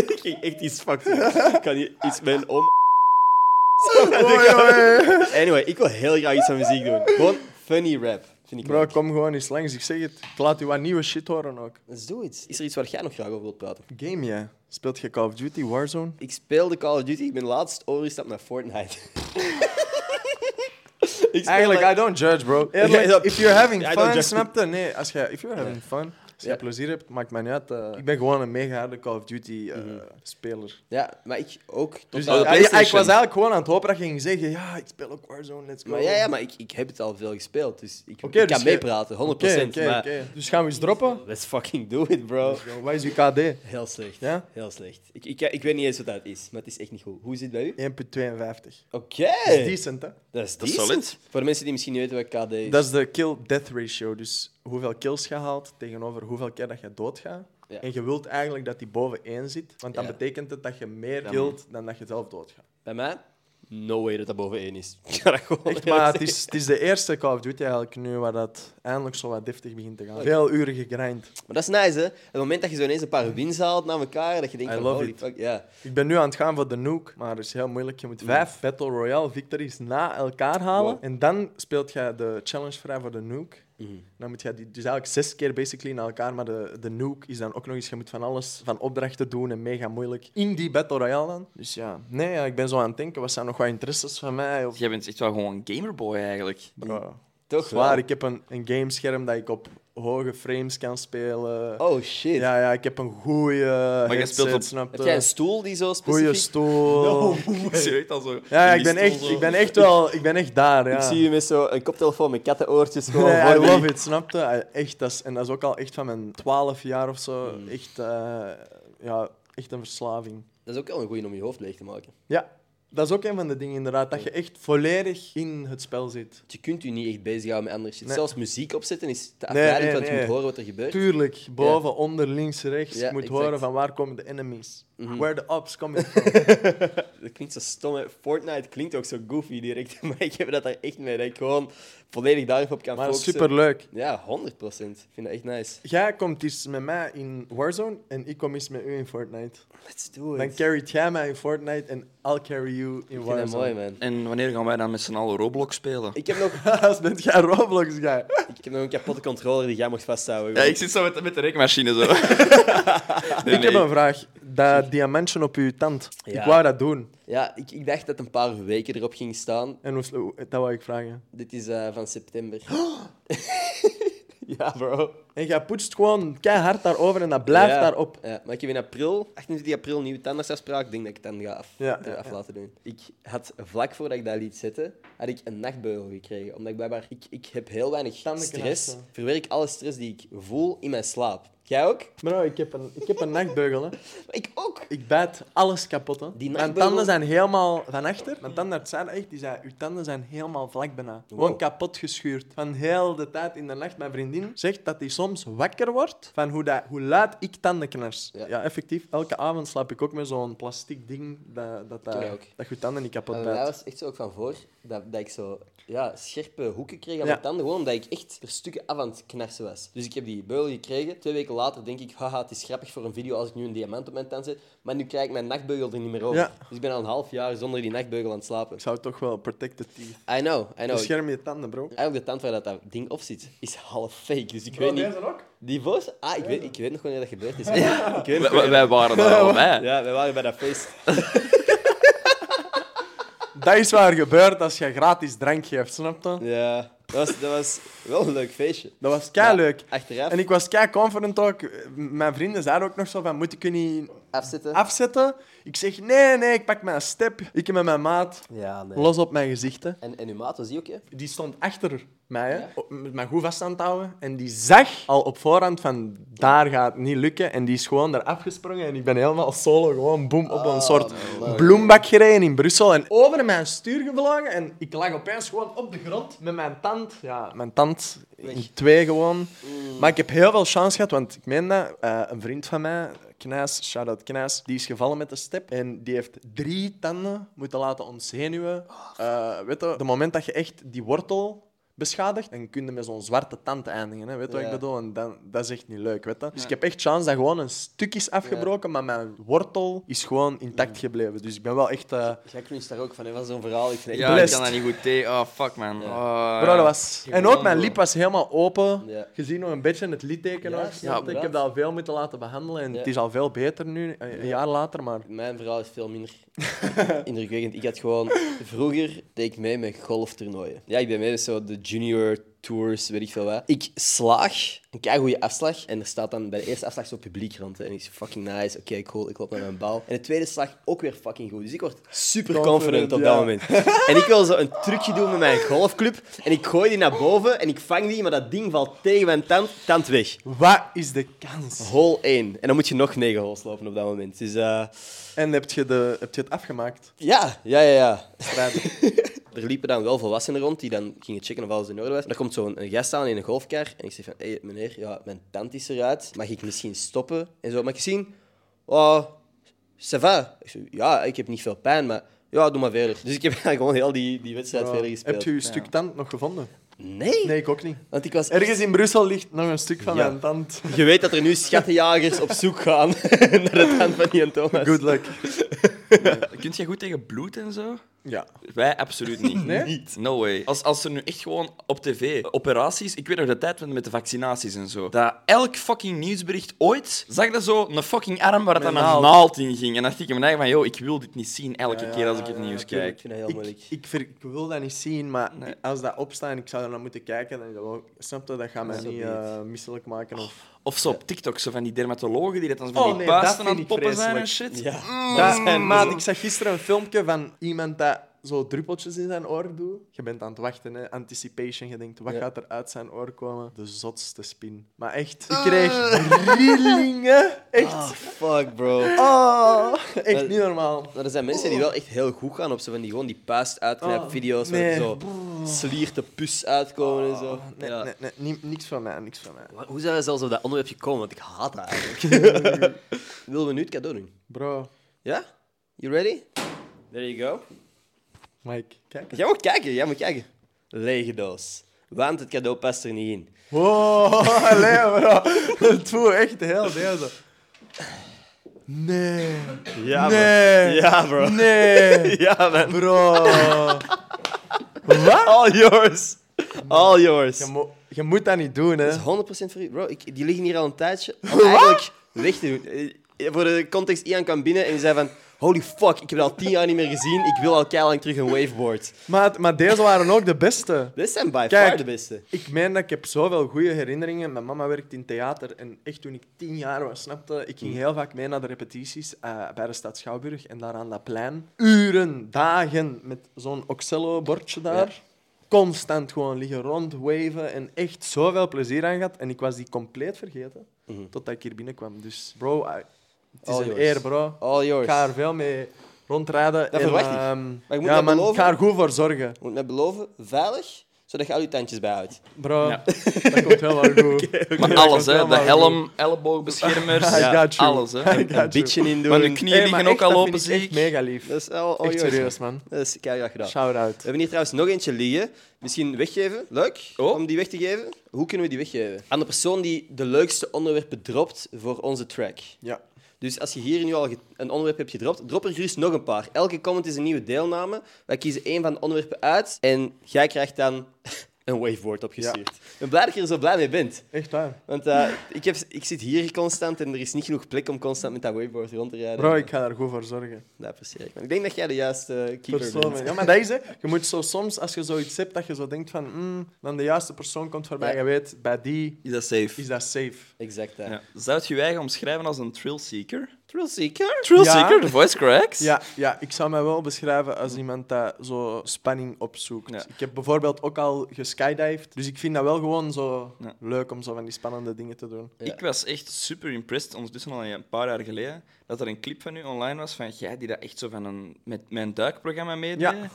Speaker 1: ik ging echt iets fucked zeggen. Ik kan hier iets met een oma...
Speaker 2: Oei, oei.
Speaker 1: Anyway, ik wil heel graag iets aan muziek doen. Gewoon funny rap, vind ik
Speaker 2: Bro,
Speaker 1: leuk.
Speaker 2: kom gewoon eens langs, ik zeg het. Ik laat u wat nieuwe shit horen ook.
Speaker 1: Let's do it. Is er iets waar jij nog graag over wilt praten?
Speaker 2: Game, jij. Speelt je Call of Duty, Warzone?
Speaker 1: Ik speelde Call of Duty, ik ben laatst overgestapt naar Fortnite. Ik speel
Speaker 2: Eigenlijk,
Speaker 1: dat-
Speaker 2: I don't judge, bro.
Speaker 1: Ja,
Speaker 2: Eerlijk,
Speaker 1: dat-
Speaker 2: if you're having
Speaker 1: I
Speaker 2: fun,
Speaker 1: don't judge.
Speaker 2: snap je? Nee, als je, if you're having fun, als je
Speaker 1: Ja.
Speaker 2: plezier hebt, maakt mij niet uit. eh. ik ben gewoon een mega harde Call of Duty-speler.
Speaker 1: Ja, maar ik ook. Tot
Speaker 2: dus
Speaker 1: aan-
Speaker 3: de
Speaker 2: ik- ik,
Speaker 3: PlayStation.
Speaker 2: was eigenlijk gewoon aan het hopen dat je ging zeggen, ja, ik speel ook Warzone, let's go.
Speaker 1: maar ja, ja, maar ik, ik heb het al veel gespeeld, dus ik,
Speaker 2: Oké,
Speaker 1: ik
Speaker 2: dus
Speaker 1: kan
Speaker 2: je-
Speaker 1: meepraten, 100%.
Speaker 2: Oké, oké,
Speaker 1: maar
Speaker 2: oké. Dus gaan we eens droppen?
Speaker 1: let's fucking do it, bro.
Speaker 2: Wat is uw KD?
Speaker 1: Heel slecht.
Speaker 2: Ja?
Speaker 1: Heel slecht. Ik, ik, ik weet niet eens wat dat is, maar het is echt niet goed. Hoe zit het bij u?
Speaker 2: 1.52.
Speaker 1: Oké.
Speaker 2: Dat is decent, hè?
Speaker 1: Dat is
Speaker 3: Dat is
Speaker 1: decent.
Speaker 3: solid.
Speaker 1: Voor de mensen die misschien niet weten wat KD is.
Speaker 2: Dat is de kill-death ratio. Dus hoeveel kills je haalt tegenover hoeveel keer dat je doodgaat.
Speaker 1: Ja.
Speaker 2: En je wilt eigenlijk dat die boven 1 zit. Want dan
Speaker 1: Ja.
Speaker 2: betekent het dat je meer
Speaker 3: Dan-
Speaker 2: kilt dan dat je zelf doodgaat.
Speaker 1: Bij mij? No way dat dat boven 1 is. Ik ga dat gewoon
Speaker 2: Echt, maar het is, het is de eerste Call of Duty eigenlijk nu waar dat eindelijk zo wat deftig begint te gaan.
Speaker 1: Leuk.
Speaker 2: Veel uren gegrind.
Speaker 1: Maar dat is nice, hè? Het moment dat je zo ineens een paar wins haalt na elkaar, dat je denkt
Speaker 2: I
Speaker 1: van,
Speaker 2: love
Speaker 1: holy
Speaker 2: it.
Speaker 1: fuck, ja.
Speaker 2: Ik ben nu aan het gaan voor de nuke, maar dat is heel moeilijk. Je moet vijf Battle Royale victories na elkaar halen.
Speaker 1: Wow.
Speaker 2: En dan speelt je de challenge vrij voor de nuke.
Speaker 1: Mhm.
Speaker 2: Dan moet je die, dus eigenlijk zes keer basically na elkaar, maar de, de nuke is dan ook nog eens, je moet van alles, van opdrachten doen en mega moeilijk in die Battle Royale dan. Dus ja, nee, ja, ik ben zo aan het denken, wat zijn nog wat interesses van mij? Of,
Speaker 3: Jij bent echt wel gewoon een gamerboy eigenlijk.
Speaker 2: Bro,
Speaker 1: Toch
Speaker 2: zwaar,
Speaker 1: wel.
Speaker 2: ik heb een, een gamescherm dat ik op hoge frames kan spelen.
Speaker 1: Oh shit.
Speaker 2: Ja, ja, ik heb een goede.
Speaker 3: jij speelt op-
Speaker 2: snap
Speaker 1: Heb jij een
Speaker 2: je?
Speaker 1: stoel die zo
Speaker 2: Goede
Speaker 1: specifiek... Nou. Oh,
Speaker 2: stoel.
Speaker 3: Ik zie echt al zo.
Speaker 2: Ja, ja,
Speaker 3: in
Speaker 2: ik
Speaker 3: die
Speaker 2: ben,
Speaker 3: stoel
Speaker 2: echt,
Speaker 3: zo.
Speaker 2: ik ben echt wel ik ben echt daar. Ja.
Speaker 1: Ik zie je met zo'n koptelefoon met kattenoortjes gewoon.
Speaker 2: Nee,
Speaker 1: voor
Speaker 2: I
Speaker 1: die-
Speaker 2: love it, snap je? Ah, Echt, dat is, en dat is ook al echt van mijn 12 jaar of zo.
Speaker 1: Hmm.
Speaker 2: Echt, eh, ja, echt een verslaving.
Speaker 1: Dat is ook wel een goeie om je hoofd leeg te maken.
Speaker 2: Ja, dat is ook een van de dingen inderdaad. Dat je echt volledig in het spel zit.
Speaker 1: Je kunt je niet echt bezighouden met andere shit.
Speaker 2: Nee.
Speaker 1: Zelfs muziek opzetten is te
Speaker 2: Nee,
Speaker 1: afleidend,
Speaker 2: nee,
Speaker 1: want je
Speaker 2: nee.
Speaker 1: moet horen wat er gebeurt.
Speaker 2: Tuurlijk, boven, onder, links, rechts.
Speaker 1: Ja,
Speaker 2: je moet
Speaker 1: exact.
Speaker 2: horen van waar komen de enemies.
Speaker 1: Mhm.
Speaker 2: Where the ops coming from.
Speaker 1: Dat klinkt zo stom, hè. Fortnite klinkt ook zo goofy direct, maar ik heb dat daar echt mee, dat ik gewoon volledig daarop kan
Speaker 2: maar
Speaker 1: focussen.
Speaker 2: superleuk.
Speaker 1: Ja, 100 procent. Ik vind dat echt nice.
Speaker 2: Jij komt eens met mij in Warzone en ik kom eens met u in Fortnite.
Speaker 1: Let's do it.
Speaker 2: Dan carryt jij mij in Fortnite en I'll carry you in
Speaker 1: ik vind dat mooi,
Speaker 2: Warzone.
Speaker 1: man.
Speaker 3: En wanneer gaan wij dan met z'n allen Roblox spelen?
Speaker 1: Ik heb, nog,
Speaker 2: Als bent jij Roblox guy.
Speaker 1: ik heb nog een kapotte controller die jij mocht vasthouden.
Speaker 3: Ja, ik zit zo met, met de rekenmachine zo. Nee,
Speaker 2: Ik heb
Speaker 3: nee.
Speaker 2: een vraag. Dat diamantje op uw tand.
Speaker 1: Ja.
Speaker 2: Ik wou dat doen.
Speaker 1: Ja, ik, ik dacht dat een paar weken erop ging staan.
Speaker 2: En hoe- hoe- dat wou ik vragen.
Speaker 1: Dit is eh, van september.
Speaker 2: Oh!
Speaker 1: ja, bro.
Speaker 2: En jij poetst gewoon keihard daarover en dat blijft
Speaker 1: Ja.
Speaker 2: daarop.
Speaker 1: Ja, maar ik heb in april, 28 april, nieuwe tandartsafspraak. Ik denk dat ik het dan ga af,
Speaker 2: Ja,
Speaker 1: er
Speaker 2: ja,
Speaker 1: af
Speaker 2: ja.
Speaker 1: laten doen. Ik had vlak voordat ik dat liet zitten, had ik een nachtbeugel gekregen. Omdat ik blijkbaar, ik, ik heb heel weinig
Speaker 2: Tandenknarsen.
Speaker 1: stress. Verwerk alle stress die ik voel in mijn slaap. Jij ook?
Speaker 2: Bro, ik heb een, ik heb een nachtbeugel. Hè.
Speaker 1: Ik ook.
Speaker 2: Ik bijt alles kapot. Hè.
Speaker 1: Die
Speaker 2: Mijn
Speaker 1: nachtbeugel-
Speaker 2: tanden zijn helemaal van achter. Mijn tandarts zei dat echt. Die zei, uw tanden zijn helemaal vlak bijna. Gewoon kapot geschuurd. Van heel de tijd in de nacht. Mijn vriendin zegt dat hij soms wakker wordt van hoe, dat, hoe luid ik tanden knars.
Speaker 1: Ja.
Speaker 2: Ja. effectief. Elke avond slaap ik ook met zo'n plastic ding dat, dat, dat,
Speaker 1: Ja, ook.
Speaker 2: dat je tanden niet kapot
Speaker 1: Maar bij mij
Speaker 2: bijt.
Speaker 1: was het echt zo ook van voor dat, dat ik zo ja, scherpe hoeken kreeg aan
Speaker 2: Ja.
Speaker 1: mijn tanden, gewoon omdat ik echt per stukken af aan het knarsen was. Dus ik heb die beugel gekregen. Twee weken later denk ik, haha, het is grappig voor een video als ik nu een diamant op mijn tand zet, maar nu krijg ik mijn nachtbeugel er niet meer over.
Speaker 2: Ja.
Speaker 1: Dus ik ben al een half jaar zonder die nachtbeugel aan het slapen. Dus
Speaker 2: Ik zou toch wel protected teeth.
Speaker 1: I know, I know.
Speaker 2: Bescherm Dus je tanden, bro.
Speaker 1: Eigenlijk de tand waar dat, dat ding op zit, is half fake, dus ik weet niet...
Speaker 2: ook?
Speaker 1: Die voice? Ah, ik weet, ik weet nog wanneer dat gebeurd is. Ik weet nog wanneer-
Speaker 3: Wij- wij- Wij waren daar al bij.
Speaker 1: Ja, we waren bij dat feest.
Speaker 2: Dat is waar gebeurt als je gratis drank geeft, snap je?
Speaker 1: Ja, dat was, dat was wel een leuk feestje.
Speaker 2: Dat was kei leuk.
Speaker 1: Achteraf,
Speaker 2: En ik was kei confident ook. M- Mijn vrienden zeiden ook nog zo van, moet ik je niet
Speaker 1: afzetten.
Speaker 2: afzetten? Ik zeg, nee, nee, ik pak mijn step. Ik heb met mijn maat,
Speaker 1: Ja, nee.
Speaker 2: los op mijn gezicht. hè.
Speaker 1: En, en uw maat was die ook, hè?
Speaker 2: Die stond achter mij, hè, op- met mij goed vast aan het houden. En die zag al op voorhand van, daar gaat het niet lukken. En die is gewoon daar afgesprongen. En ik ben helemaal solo, gewoon boem, op een soort bloembak gereden in Brussel. En over mijn stuur gevlogen. En ik lag opeens gewoon op de grond met mijn tand. Mm. Ja, mijn tand in twee gewoon. Maar ik heb heel veel chance gehad, want ik meen dat, eh, een vriend van mij... Knijs, shout-out Knijs, die is gevallen met de step en die heeft drie tanden moeten laten ontzenuwen. Eh weet je, de moment dat je echt die wortel beschadigd en kun je met zo'n zwarte tand eindigen. Hè? Weet je wat
Speaker 1: Ja.
Speaker 2: ik bedoel? En dan, dat is echt niet leuk. Weet je? Dus ik heb echt chance dat gewoon een stuk is afgebroken, maar mijn wortel is gewoon intact gebleven. Dus ik ben wel echt... eh
Speaker 1: Jij cringe daar ook van, hè, van zo'n verhaal. Ik vind het
Speaker 3: Ja, ik
Speaker 2: Blessed.
Speaker 3: kan dat niet goed tegen. Oh, fuck, man. Oh,
Speaker 2: bro, dat was... En ook mijn
Speaker 3: bro.
Speaker 2: lip was helemaal open.
Speaker 1: Ja.
Speaker 2: Je ziet nog een beetje het litteken.
Speaker 1: Ja,
Speaker 2: nog,
Speaker 1: ja,
Speaker 2: snap je? ik
Speaker 1: inderdaad.
Speaker 2: heb dat al veel moeten laten behandelen en
Speaker 1: Ja.
Speaker 2: het is al veel beter nu, een een jaar later. Maar
Speaker 1: Mijn verhaal is veel minder indrukwekkend. Ik had gewoon... Vroeger deed ik mee met golftoernooien. Ja, ik deed mee met zo de junior tours, weet ik veel wat. Ik slaag, een keigoede afslag. En er staat dan bij de eerste afslag zo'n publiek rond. hè. En ik zeg, fucking nice, oké, cool, ik loop naar mijn bal. En de tweede slag ook weer fucking goed. Dus ik word super confident
Speaker 2: Confident,
Speaker 1: op
Speaker 2: ja.
Speaker 1: dat moment. En ik wil zo een trucje doen met mijn golfclub. En ik gooi die naar boven en ik vang die, maar dat ding valt tegen mijn tand, tand weg.
Speaker 2: wat is de kans?
Speaker 1: Hole 1. En dan moet je nog 9 holes lopen op dat moment. Dus eh,
Speaker 2: En heb je, de, heb je het afgemaakt?
Speaker 1: ja, ja, ja, ja.
Speaker 2: Strijd.
Speaker 1: Er liepen dan wel volwassenen rond die dan gingen checken of alles in orde was. En dan komt zo'n een gast aan in een golfkar en ik zeg van, hé hey, meneer, ja, mijn tand is eruit. Mag ik misschien stoppen? En zo, mag ik zien? Oh, ça va. Ik zeg, ja, ik heb niet veel pijn, maar ja, doe maar verder. Dus ik heb gewoon heel die, die wedstrijd verder gespeeld.
Speaker 2: Heb je je stuk tand nog gevonden?
Speaker 1: Nee,
Speaker 2: Nee, ik ook niet.
Speaker 1: want ik was...
Speaker 2: Ergens in Brussel ligt nog een stuk van
Speaker 1: Ja.
Speaker 2: mijn tand.
Speaker 1: Je weet dat er nu schattenjagers op zoek gaan naar de tand van die Thomas.
Speaker 2: Good luck.
Speaker 3: Kunt jij goed tegen bloed en zo?
Speaker 2: Ja.
Speaker 3: Wij absoluut niet.
Speaker 2: Nee?
Speaker 3: Niet. No way. Als, als er nu echt gewoon op tv operaties, ik weet nog de tijd met, met de vaccinaties en zo, dat elk fucking nieuwsbericht ooit zag dat zo een fucking arm waar dat dan
Speaker 2: Met
Speaker 3: een
Speaker 2: naald.
Speaker 3: naald in ging. En dan dacht ik in mijn eigen van, yo, ik wil dit niet zien elke
Speaker 2: Ja,
Speaker 3: keer als
Speaker 2: ja,
Speaker 3: ik het
Speaker 2: ja,
Speaker 3: nieuws
Speaker 1: Tuurlijk,
Speaker 3: kijk.
Speaker 1: Ik vind dat heel
Speaker 2: Ik,
Speaker 1: moeilijk.
Speaker 2: ik, ver- ik wil dat niet zien, maar als dat opstaat en ik zou er naar moeten kijken, dan is dat wel- snap je, dat gaat mij
Speaker 1: Dat is
Speaker 2: niet
Speaker 1: ook niet.
Speaker 2: eh, misselijk maken. Of...
Speaker 3: Of zo op TikTok, zo van die dermatologen die dat dan zo
Speaker 2: Oh,
Speaker 3: van die
Speaker 2: nee, dat
Speaker 3: puisten
Speaker 2: vind
Speaker 3: aan het
Speaker 2: ik
Speaker 3: poppen zijn en
Speaker 2: vreselijk.
Speaker 3: shit.
Speaker 1: Ja.
Speaker 2: Oh. Dat zijn, Ah, maat, ik zag gisteren een filmpje van iemand dat zo druppeltjes in zijn oor doet. Je bent aan het wachten, hè. anticipation. Je denkt, wat
Speaker 1: Ja.
Speaker 2: gaat er uit zijn oor komen? De zotste spin. Maar echt, ik kreeg rillingen. Echt.
Speaker 1: Oh, Fuck, bro.
Speaker 2: Oh, echt
Speaker 1: Maar-
Speaker 2: niet normaal.
Speaker 1: Maar er zijn mensen die wel echt heel goed gaan op zo van die gewoon die puist uitknijp video's waar
Speaker 2: nee.
Speaker 1: zo slier de pus uitkomen en zo.
Speaker 2: Nee,
Speaker 1: ja.
Speaker 2: nee, nee, ni- niks van mij, niks van mij.
Speaker 1: Maar hoe zijn we zelfs op dat onderwerp gekomen? Want ik haat dat eigenlijk. Willen we nu het cadeau doen?
Speaker 2: Bro,
Speaker 1: Ja? You ready? There you go.
Speaker 2: Mike, kijk.
Speaker 1: Jij moet kijken, jij moet kijken. Lege doos. Want het cadeau past er niet in.
Speaker 2: Wow, allee, Oh, bro. Het voelt echt heel deze. Nee.
Speaker 1: Ja,
Speaker 2: nee.
Speaker 1: Ja, bro.
Speaker 2: Nee.
Speaker 1: Ja, man.
Speaker 2: Bro.
Speaker 1: All yours. All yours.
Speaker 2: Je, mo- je moet dat niet doen, hè.
Speaker 1: Dat is 100% voor u. Bro, ik, die liggen hier al een tijdje. om Eigenlijk weg te doen. Eh, Voor de context, Ian kwam binnen en die zei van... Holy fuck, ik heb dat al tien jaar niet meer gezien. Ik wil al keilang terug een waveboard.
Speaker 2: Maar, maar deze waren ook de beste.
Speaker 1: Dit zijn by
Speaker 2: Kijk.
Speaker 1: far de beste.
Speaker 2: Ik meen dat ik heb zoveel goede herinneringen. Mijn mama werkt in theater en echt toen ik tien jaar was, snapte, ik
Speaker 1: Hmm.
Speaker 2: ging heel vaak mee naar de repetities eh, bij de Stad Schouwburg en daar aan dat plein. Uren, dagen met zo'n Oxello-bordje daar. Constant gewoon liggen rondwaven en echt zoveel plezier aan gehad. En ik was die compleet vergeten
Speaker 1: Hmm.
Speaker 2: totdat ik hier binnenkwam. Dus bro, I- het is
Speaker 1: All
Speaker 2: een
Speaker 1: yours.
Speaker 2: eer bro.
Speaker 1: All
Speaker 2: Ik
Speaker 1: yours.
Speaker 2: ga er veel mee rondrijden.
Speaker 1: Oh, Dat
Speaker 2: en,
Speaker 1: verwacht ik.
Speaker 2: ehm,
Speaker 1: Maar ik moet
Speaker 2: ja,
Speaker 1: dat
Speaker 2: man, ik
Speaker 1: beloven.
Speaker 2: ga er goed voor zorgen.
Speaker 1: Je moet mij beloven, veilig, zodat je al je tandjes bijhoudt.
Speaker 2: Bro,
Speaker 3: Ja.
Speaker 2: dat komt helemaal goed.
Speaker 3: Maar
Speaker 2: Ja,
Speaker 3: alles,
Speaker 2: dat
Speaker 3: hè.
Speaker 2: komt
Speaker 3: De
Speaker 2: helemaal
Speaker 3: helm, elleboogbeschermers,
Speaker 2: I got you.
Speaker 3: alles, hè.
Speaker 2: I got
Speaker 1: Een
Speaker 2: you.
Speaker 1: beetje in doen.
Speaker 3: Maar de knieën
Speaker 2: Hey, maar
Speaker 3: liggen
Speaker 2: echt,
Speaker 3: ook al
Speaker 2: dat
Speaker 3: open,
Speaker 2: vind ik
Speaker 3: zie
Speaker 2: echt
Speaker 3: ik.
Speaker 2: mega lief.
Speaker 1: Dat is al all
Speaker 2: echt
Speaker 1: yours.
Speaker 2: serieus, man.
Speaker 1: Dat is keihard gedaan.
Speaker 2: Shout
Speaker 1: We
Speaker 2: out.
Speaker 1: hebben hier trouwens nog eentje liggen. Misschien weggeven. Leuk
Speaker 3: Oh.
Speaker 1: om die weg te geven. Hoe kunnen we die weggeven? Aan de persoon die de leukste onderwerpen dropt voor onze track.
Speaker 2: Ja.
Speaker 1: Dus als je hier nu al ge- een onderwerp hebt gedropt, drop er gerust nog een paar. Elke comment is een nieuwe deelname. Wij kiezen één van de onderwerpen uit en jij krijgt dan een waveboard opgestuurd. Ik ben blij dat je er zo blij mee bent.
Speaker 2: Echt waar.
Speaker 1: Want eh, ik, heb, ik zit hier constant en er is niet genoeg plek om constant met dat waveboard rond te rijden.
Speaker 2: Bro, ik ga daar goed voor zorgen.
Speaker 1: Dat apprecieer ik. Maar ik denk dat jij de juiste keeper
Speaker 2: Persoon,
Speaker 1: bent.
Speaker 2: Ja, maar dat is hè. Je moet zo soms, als je zoiets hebt, dat je zo denkt van... mm, dan de juiste persoon komt voorbij.
Speaker 1: Ja.
Speaker 2: Je weet, bij die
Speaker 3: Is dat safe?
Speaker 2: is dat safe.
Speaker 1: Exact, hè.
Speaker 3: Ja. Zou je je eigen omschrijven als een thrill-seeker?
Speaker 1: Thrillseeker?
Speaker 3: Thrill-seeker?
Speaker 2: Ja.
Speaker 3: De voice cracks?
Speaker 2: Ja, ja, ik zou mij wel beschrijven als iemand dat zo spanning opzoekt.
Speaker 3: Ja.
Speaker 2: Ik heb bijvoorbeeld ook al geskydived. Dus ik vind dat wel gewoon zo
Speaker 3: Ja.
Speaker 2: leuk om zo van die spannende dingen te doen.
Speaker 1: Ja.
Speaker 3: Ik was echt super impressed, ondertussen al een paar jaar geleden, dat er een clip van u online was van jij die dat echt zo van een, met mijn duikprogramma meedeed.
Speaker 2: Ja.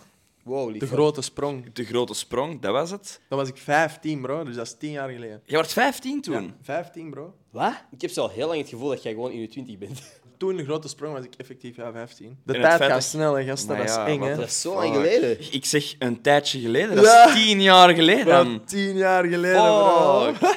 Speaker 1: Wow,
Speaker 2: De
Speaker 1: lief.
Speaker 2: grote sprong.
Speaker 3: De grote sprong, dat was het.
Speaker 2: Dan was ik 15, bro. Dus dat is 10 jaar geleden.
Speaker 3: Je was 15 toen.
Speaker 2: Ja, 15, bro.
Speaker 1: Wat? Ik heb zo al heel lang het gevoel dat jij gewoon in je twintig bent.
Speaker 2: Toen de grote sprong was ik effectief ja, 15. De
Speaker 3: En het
Speaker 2: tijd
Speaker 3: feit
Speaker 2: gaat
Speaker 3: dat-
Speaker 2: snel, hè, gasten.
Speaker 3: Maar
Speaker 2: dat is
Speaker 3: ja,
Speaker 2: eng,
Speaker 3: wat
Speaker 2: hè.
Speaker 1: Dat
Speaker 2: Dat
Speaker 1: is zo lang
Speaker 3: Fuck.
Speaker 1: geleden.
Speaker 3: Ik zeg een tijdje geleden, dat
Speaker 2: Ja.
Speaker 3: is tien jaar geleden.
Speaker 2: is 10 jaar geleden,
Speaker 3: Oh.
Speaker 2: bro.
Speaker 3: Oké,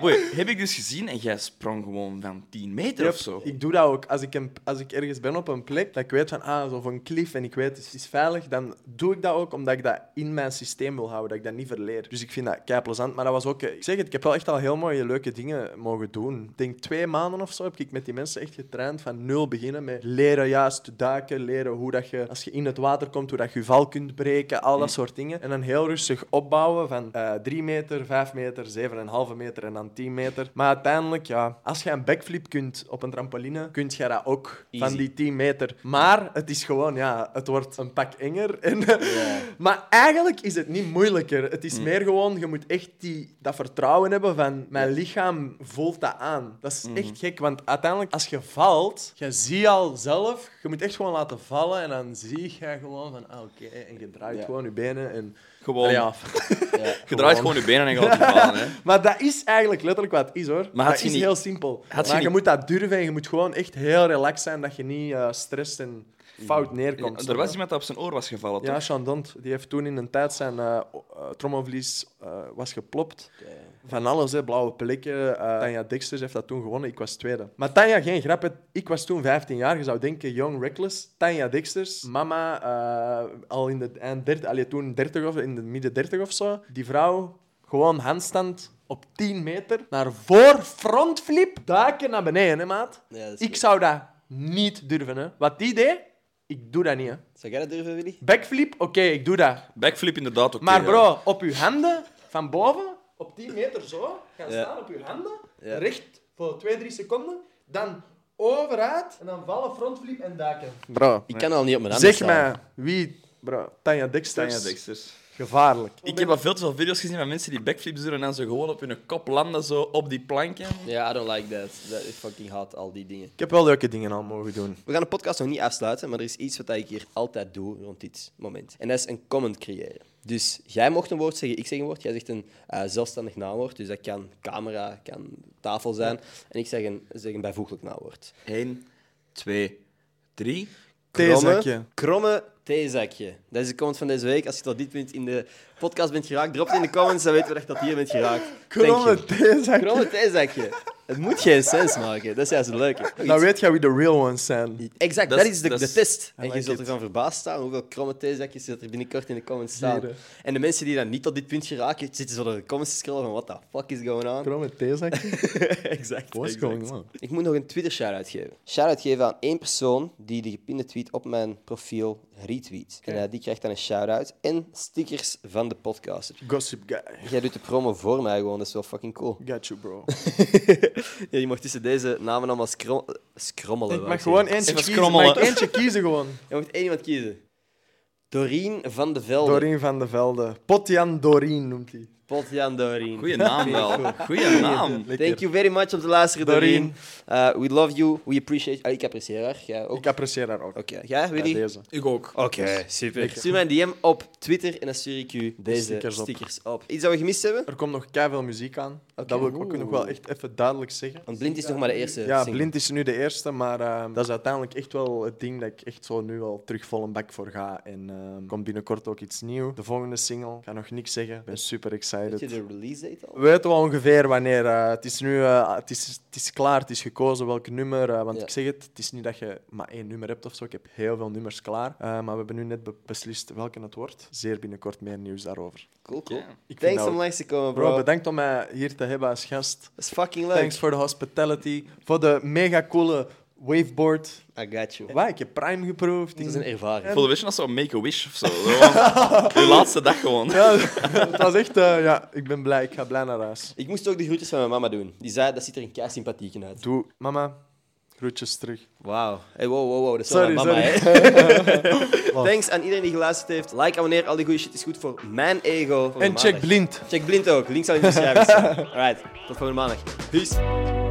Speaker 3: boei. Heb ik dus gezien en jij sprong gewoon van 10 meter
Speaker 2: Yep,
Speaker 3: of zo.
Speaker 2: Ik doe dat ook. Als ik, een- als ik ergens ben op een plek, dat ik weet van, ah, zo van cliff en ik weet het is veilig, dan doe ik dat ook omdat ik dat in mijn systeem wil houden, dat ik dat niet verleer. Dus ik vind dat kei plezant. Maar dat was ook, eh, ik zeg het, ik heb wel echt al heel mooie leuke dingen mogen doen. Ik denk twee maanden of zo heb ik met die mensen echt getraind van nul beginnen met leren juist te duiken, leren hoe dat je, als je in het water komt, hoe dat je je val kunt breken, al dat soort dingen. En dan heel rustig opbouwen van eh 3 meter, 5 meter, 7,5 meter en dan 10 meter. Maar uiteindelijk, ja, als je een backflip kunt op een trampoline, kun je dat ook van
Speaker 1: Easy.
Speaker 2: die 10 meter. Maar het is gewoon, ja, het wordt een pak enger. En, Maar eigenlijk is het niet moeilijker. Het
Speaker 3: Hmm.
Speaker 2: is meer gewoon, je moet echt die, dat vertrouwen hebben van mijn lichaam voelt dat aan. Dat is
Speaker 3: Hmm.
Speaker 2: echt gek, want uiteindelijk als je valt, je ziet al zelf, je moet echt gewoon laten vallen en dan zie je gewoon van, ah, oké, en je draait
Speaker 1: Ja.
Speaker 2: gewoon je benen en...
Speaker 3: Gewoon,
Speaker 2: Ja.
Speaker 1: Ja.
Speaker 3: je draait gewoon je benen en je gaat op de baan. Hè.
Speaker 2: Maar dat is eigenlijk letterlijk wat het is, hoor.
Speaker 3: Maar had
Speaker 2: dat
Speaker 3: je
Speaker 2: is
Speaker 3: niet-
Speaker 2: heel simpel.
Speaker 3: had je
Speaker 2: maar je
Speaker 3: niet-
Speaker 2: moet dat durven en je moet gewoon echt heel relaxed zijn dat je niet eh, stress en fout neerkomt.
Speaker 3: Hmm. er was iemand dat op zijn oor was gevallen,
Speaker 2: Ja,
Speaker 3: toch?
Speaker 2: Chandant, die heeft toen in een tijd zijn eh o- eh, trommelvlies eh, was geplopt. Van alles, hè, blauwe plekken. eh Tanja Dexters heeft dat toen gewonnen, ik was tweede. Maar Tanja, geen grap, hè, ik was toen 15 jaar. Je zou denken, young, reckless. Tanja Dexters, mama, eh, al in de eind 30, allee, toen 30 of in de midden 30 of zo. Die vrouw, gewoon handstand op 10 meter, naar voor, frontflip, duiken naar beneden, hè, maat.
Speaker 1: Ja, dat is
Speaker 2: ik zou dat niet durven, hè. Wat die deed, ik doe dat niet, hè.
Speaker 1: Zou jij dat durven, Willy?
Speaker 2: Backflip, oké, ik doe dat.
Speaker 3: Backflip inderdaad ook.
Speaker 2: Maar bro, op uw handen, van boven, op 10 meter zo, gaan
Speaker 1: Ja.
Speaker 2: staan op uw handen,
Speaker 1: Ja.
Speaker 2: recht voor 2, 3 seconden, dan overuit en dan vallen, frontflip en duiken. Bro,
Speaker 1: Ik kan al niet op mijn handen
Speaker 2: zeg
Speaker 1: staan.
Speaker 2: mij wie, bro, Tanja Dexters,
Speaker 3: Tanja Dexters.
Speaker 2: gevaarlijk.
Speaker 3: Ik heb al veel te veel video's gezien van mensen die backflips doen en dan zo gewoon op hun kop landen, zo op die planken.
Speaker 1: Ja, I don't like that. Dat is fucking hard, al die dingen.
Speaker 2: Ik heb wel leuke dingen al mogen doen.
Speaker 1: We gaan de podcast nog niet afsluiten, maar er is iets wat ik hier altijd doe rond dit moment. En dat is een comment creëren. Dus jij mocht een woord zeggen, ik zeg een woord. Jij zegt een eh, zelfstandig naamwoord, dus dat kan camera, kan tafel zijn. En ik zeg een, zeg een bijvoeglijk naamwoord.
Speaker 3: 1, 2, 3.
Speaker 2: Theezakje.
Speaker 1: Kromme theezakje. Dat is de comment van deze week. Als je tot dit punt in de podcast bent geraakt, drop het in de comments, dan weten we echt dat je hier bent geraakt. Thank you.
Speaker 2: Kromme theezakje.
Speaker 1: Kromme theezakje. Het moet geen sens maken. Dat is juist het leuke.
Speaker 2: Dan Nou weet jij wie de real ones zijn.
Speaker 1: Exact,
Speaker 3: Dat
Speaker 1: dat
Speaker 3: is-
Speaker 1: is de,
Speaker 3: dat
Speaker 1: de
Speaker 3: is-
Speaker 1: test.
Speaker 2: I
Speaker 1: En je
Speaker 2: like
Speaker 1: zult
Speaker 2: it.
Speaker 1: ervan verbaasd staan hoeveel kromme theezakjes dat er binnenkort in de comments staan.
Speaker 2: Gieren.
Speaker 1: En de mensen die dan niet tot dit punt geraken, zitten zo door de comments te scrollen van what the fuck is going on?
Speaker 2: Kromme theezakje?
Speaker 1: exact.
Speaker 2: What's
Speaker 1: exact.
Speaker 2: going on?
Speaker 1: Ik moet nog een Twitter shout-out geven. Shout-out geven aan één persoon die de gepinde tweet op mijn profiel retweet. En eh, die krijgt dan een shout-out en stickers van de podcast.
Speaker 2: Gossip guy.
Speaker 1: Jij doet de promo voor mij gewoon, dat is wel fucking cool.
Speaker 2: Got you, bro.
Speaker 1: Ja, je mag tussen deze namen allemaal scro- scrommelen.
Speaker 2: Ik
Speaker 1: wou ik
Speaker 2: mag
Speaker 1: zeggen.
Speaker 2: gewoon eentje
Speaker 3: Even
Speaker 2: kiezen. Mag ik
Speaker 3: scrommelen.
Speaker 2: eentje kiezen gewoon.
Speaker 1: Je moet één iemand kiezen. Doreen van de Velde.
Speaker 2: Dorien van de Velde. Potjan Dorien noemt hij.
Speaker 1: Potjan Doreen.
Speaker 3: Goeie naam wel. Goeie naam.
Speaker 1: Thank you very much om te luisteren, Doreen.
Speaker 2: Doreen.
Speaker 1: Uh, we love you. We appreciate you. Ah, ik apprecieer haar. Jij ook?
Speaker 2: Ik apprecieer haar ook.
Speaker 1: Oké, jij,
Speaker 2: Ja,
Speaker 1: Willy?
Speaker 2: deze.
Speaker 3: Ik ook.
Speaker 1: Oké, super. Stuur mij een DM op Twitter en dan stuur ik u deze stickers
Speaker 2: stickers
Speaker 1: op.
Speaker 2: op.
Speaker 1: Iets dat we gemist hebben?
Speaker 2: Er komt nog keiveel muziek aan. Dat wil ik ook nog wel echt even duidelijk zeggen.
Speaker 1: Want Blind is nog maar de eerste
Speaker 2: Ja,
Speaker 1: single.
Speaker 2: Blind is nu de eerste, maar ehm, dat is uiteindelijk echt wel het ding dat ik echt zo nu al terug vol een bak voor ga. En ehm, komt binnenkort ook iets nieuws. De volgende single, ik ga nog niks zeggen. Ik ben super
Speaker 1: Weet je
Speaker 2: excited.
Speaker 1: de release date al?
Speaker 2: We weten wel ongeveer wanneer. eh, het is nu eh, het is, het is klaar, het is gekozen welk nummer. eh, want
Speaker 1: Ja.
Speaker 2: ik zeg het, het is niet dat je maar één nummer hebt of zo. Ik heb heel veel nummers klaar. Eh, maar we hebben nu net be- beslist welke het wordt. Zeer binnenkort meer nieuws daarover.
Speaker 1: Cool, cool.
Speaker 2: Ik vind
Speaker 1: Thanks
Speaker 2: dat
Speaker 1: om
Speaker 2: ook-
Speaker 1: langs te komen,
Speaker 2: Bro,
Speaker 1: bro. Dat
Speaker 2: bedankt om mij hier te hebben als gast.
Speaker 1: is fucking leuk.
Speaker 2: Thanks voor de hospitality, voor de mega coole waveboard.
Speaker 1: I got you.
Speaker 2: Waar, ik heb Prime geproefd.
Speaker 1: Dit is een ervaring.
Speaker 3: Ik voelde een beetje als zo'n make-a-wish of zo. Gewoon De laatste dag gewoon.
Speaker 2: Ja, het was echt... eh, ja, ik ben blij. Ik ga blij naar huis.
Speaker 1: Ik moest ook de groetjes van mijn mama doen. Die zei, dat ziet er een kei sympathiek in uit.
Speaker 2: Doe, mama, groetjes terug.
Speaker 1: Wauw. Hey, wow, wow, wow. Dat is
Speaker 2: Sorry,
Speaker 1: wel mijn mama,
Speaker 2: sorry.
Speaker 1: hè. Thanks aan iedereen die geluisterd heeft. Like, abonneer. Al die goede shit is goed voor mijn ego. Voor
Speaker 2: En
Speaker 1: maandag.
Speaker 2: check blind.
Speaker 1: Check blind ook. Link zal in de beschrijving staan. Alright. Tot volgende maandag. Peace.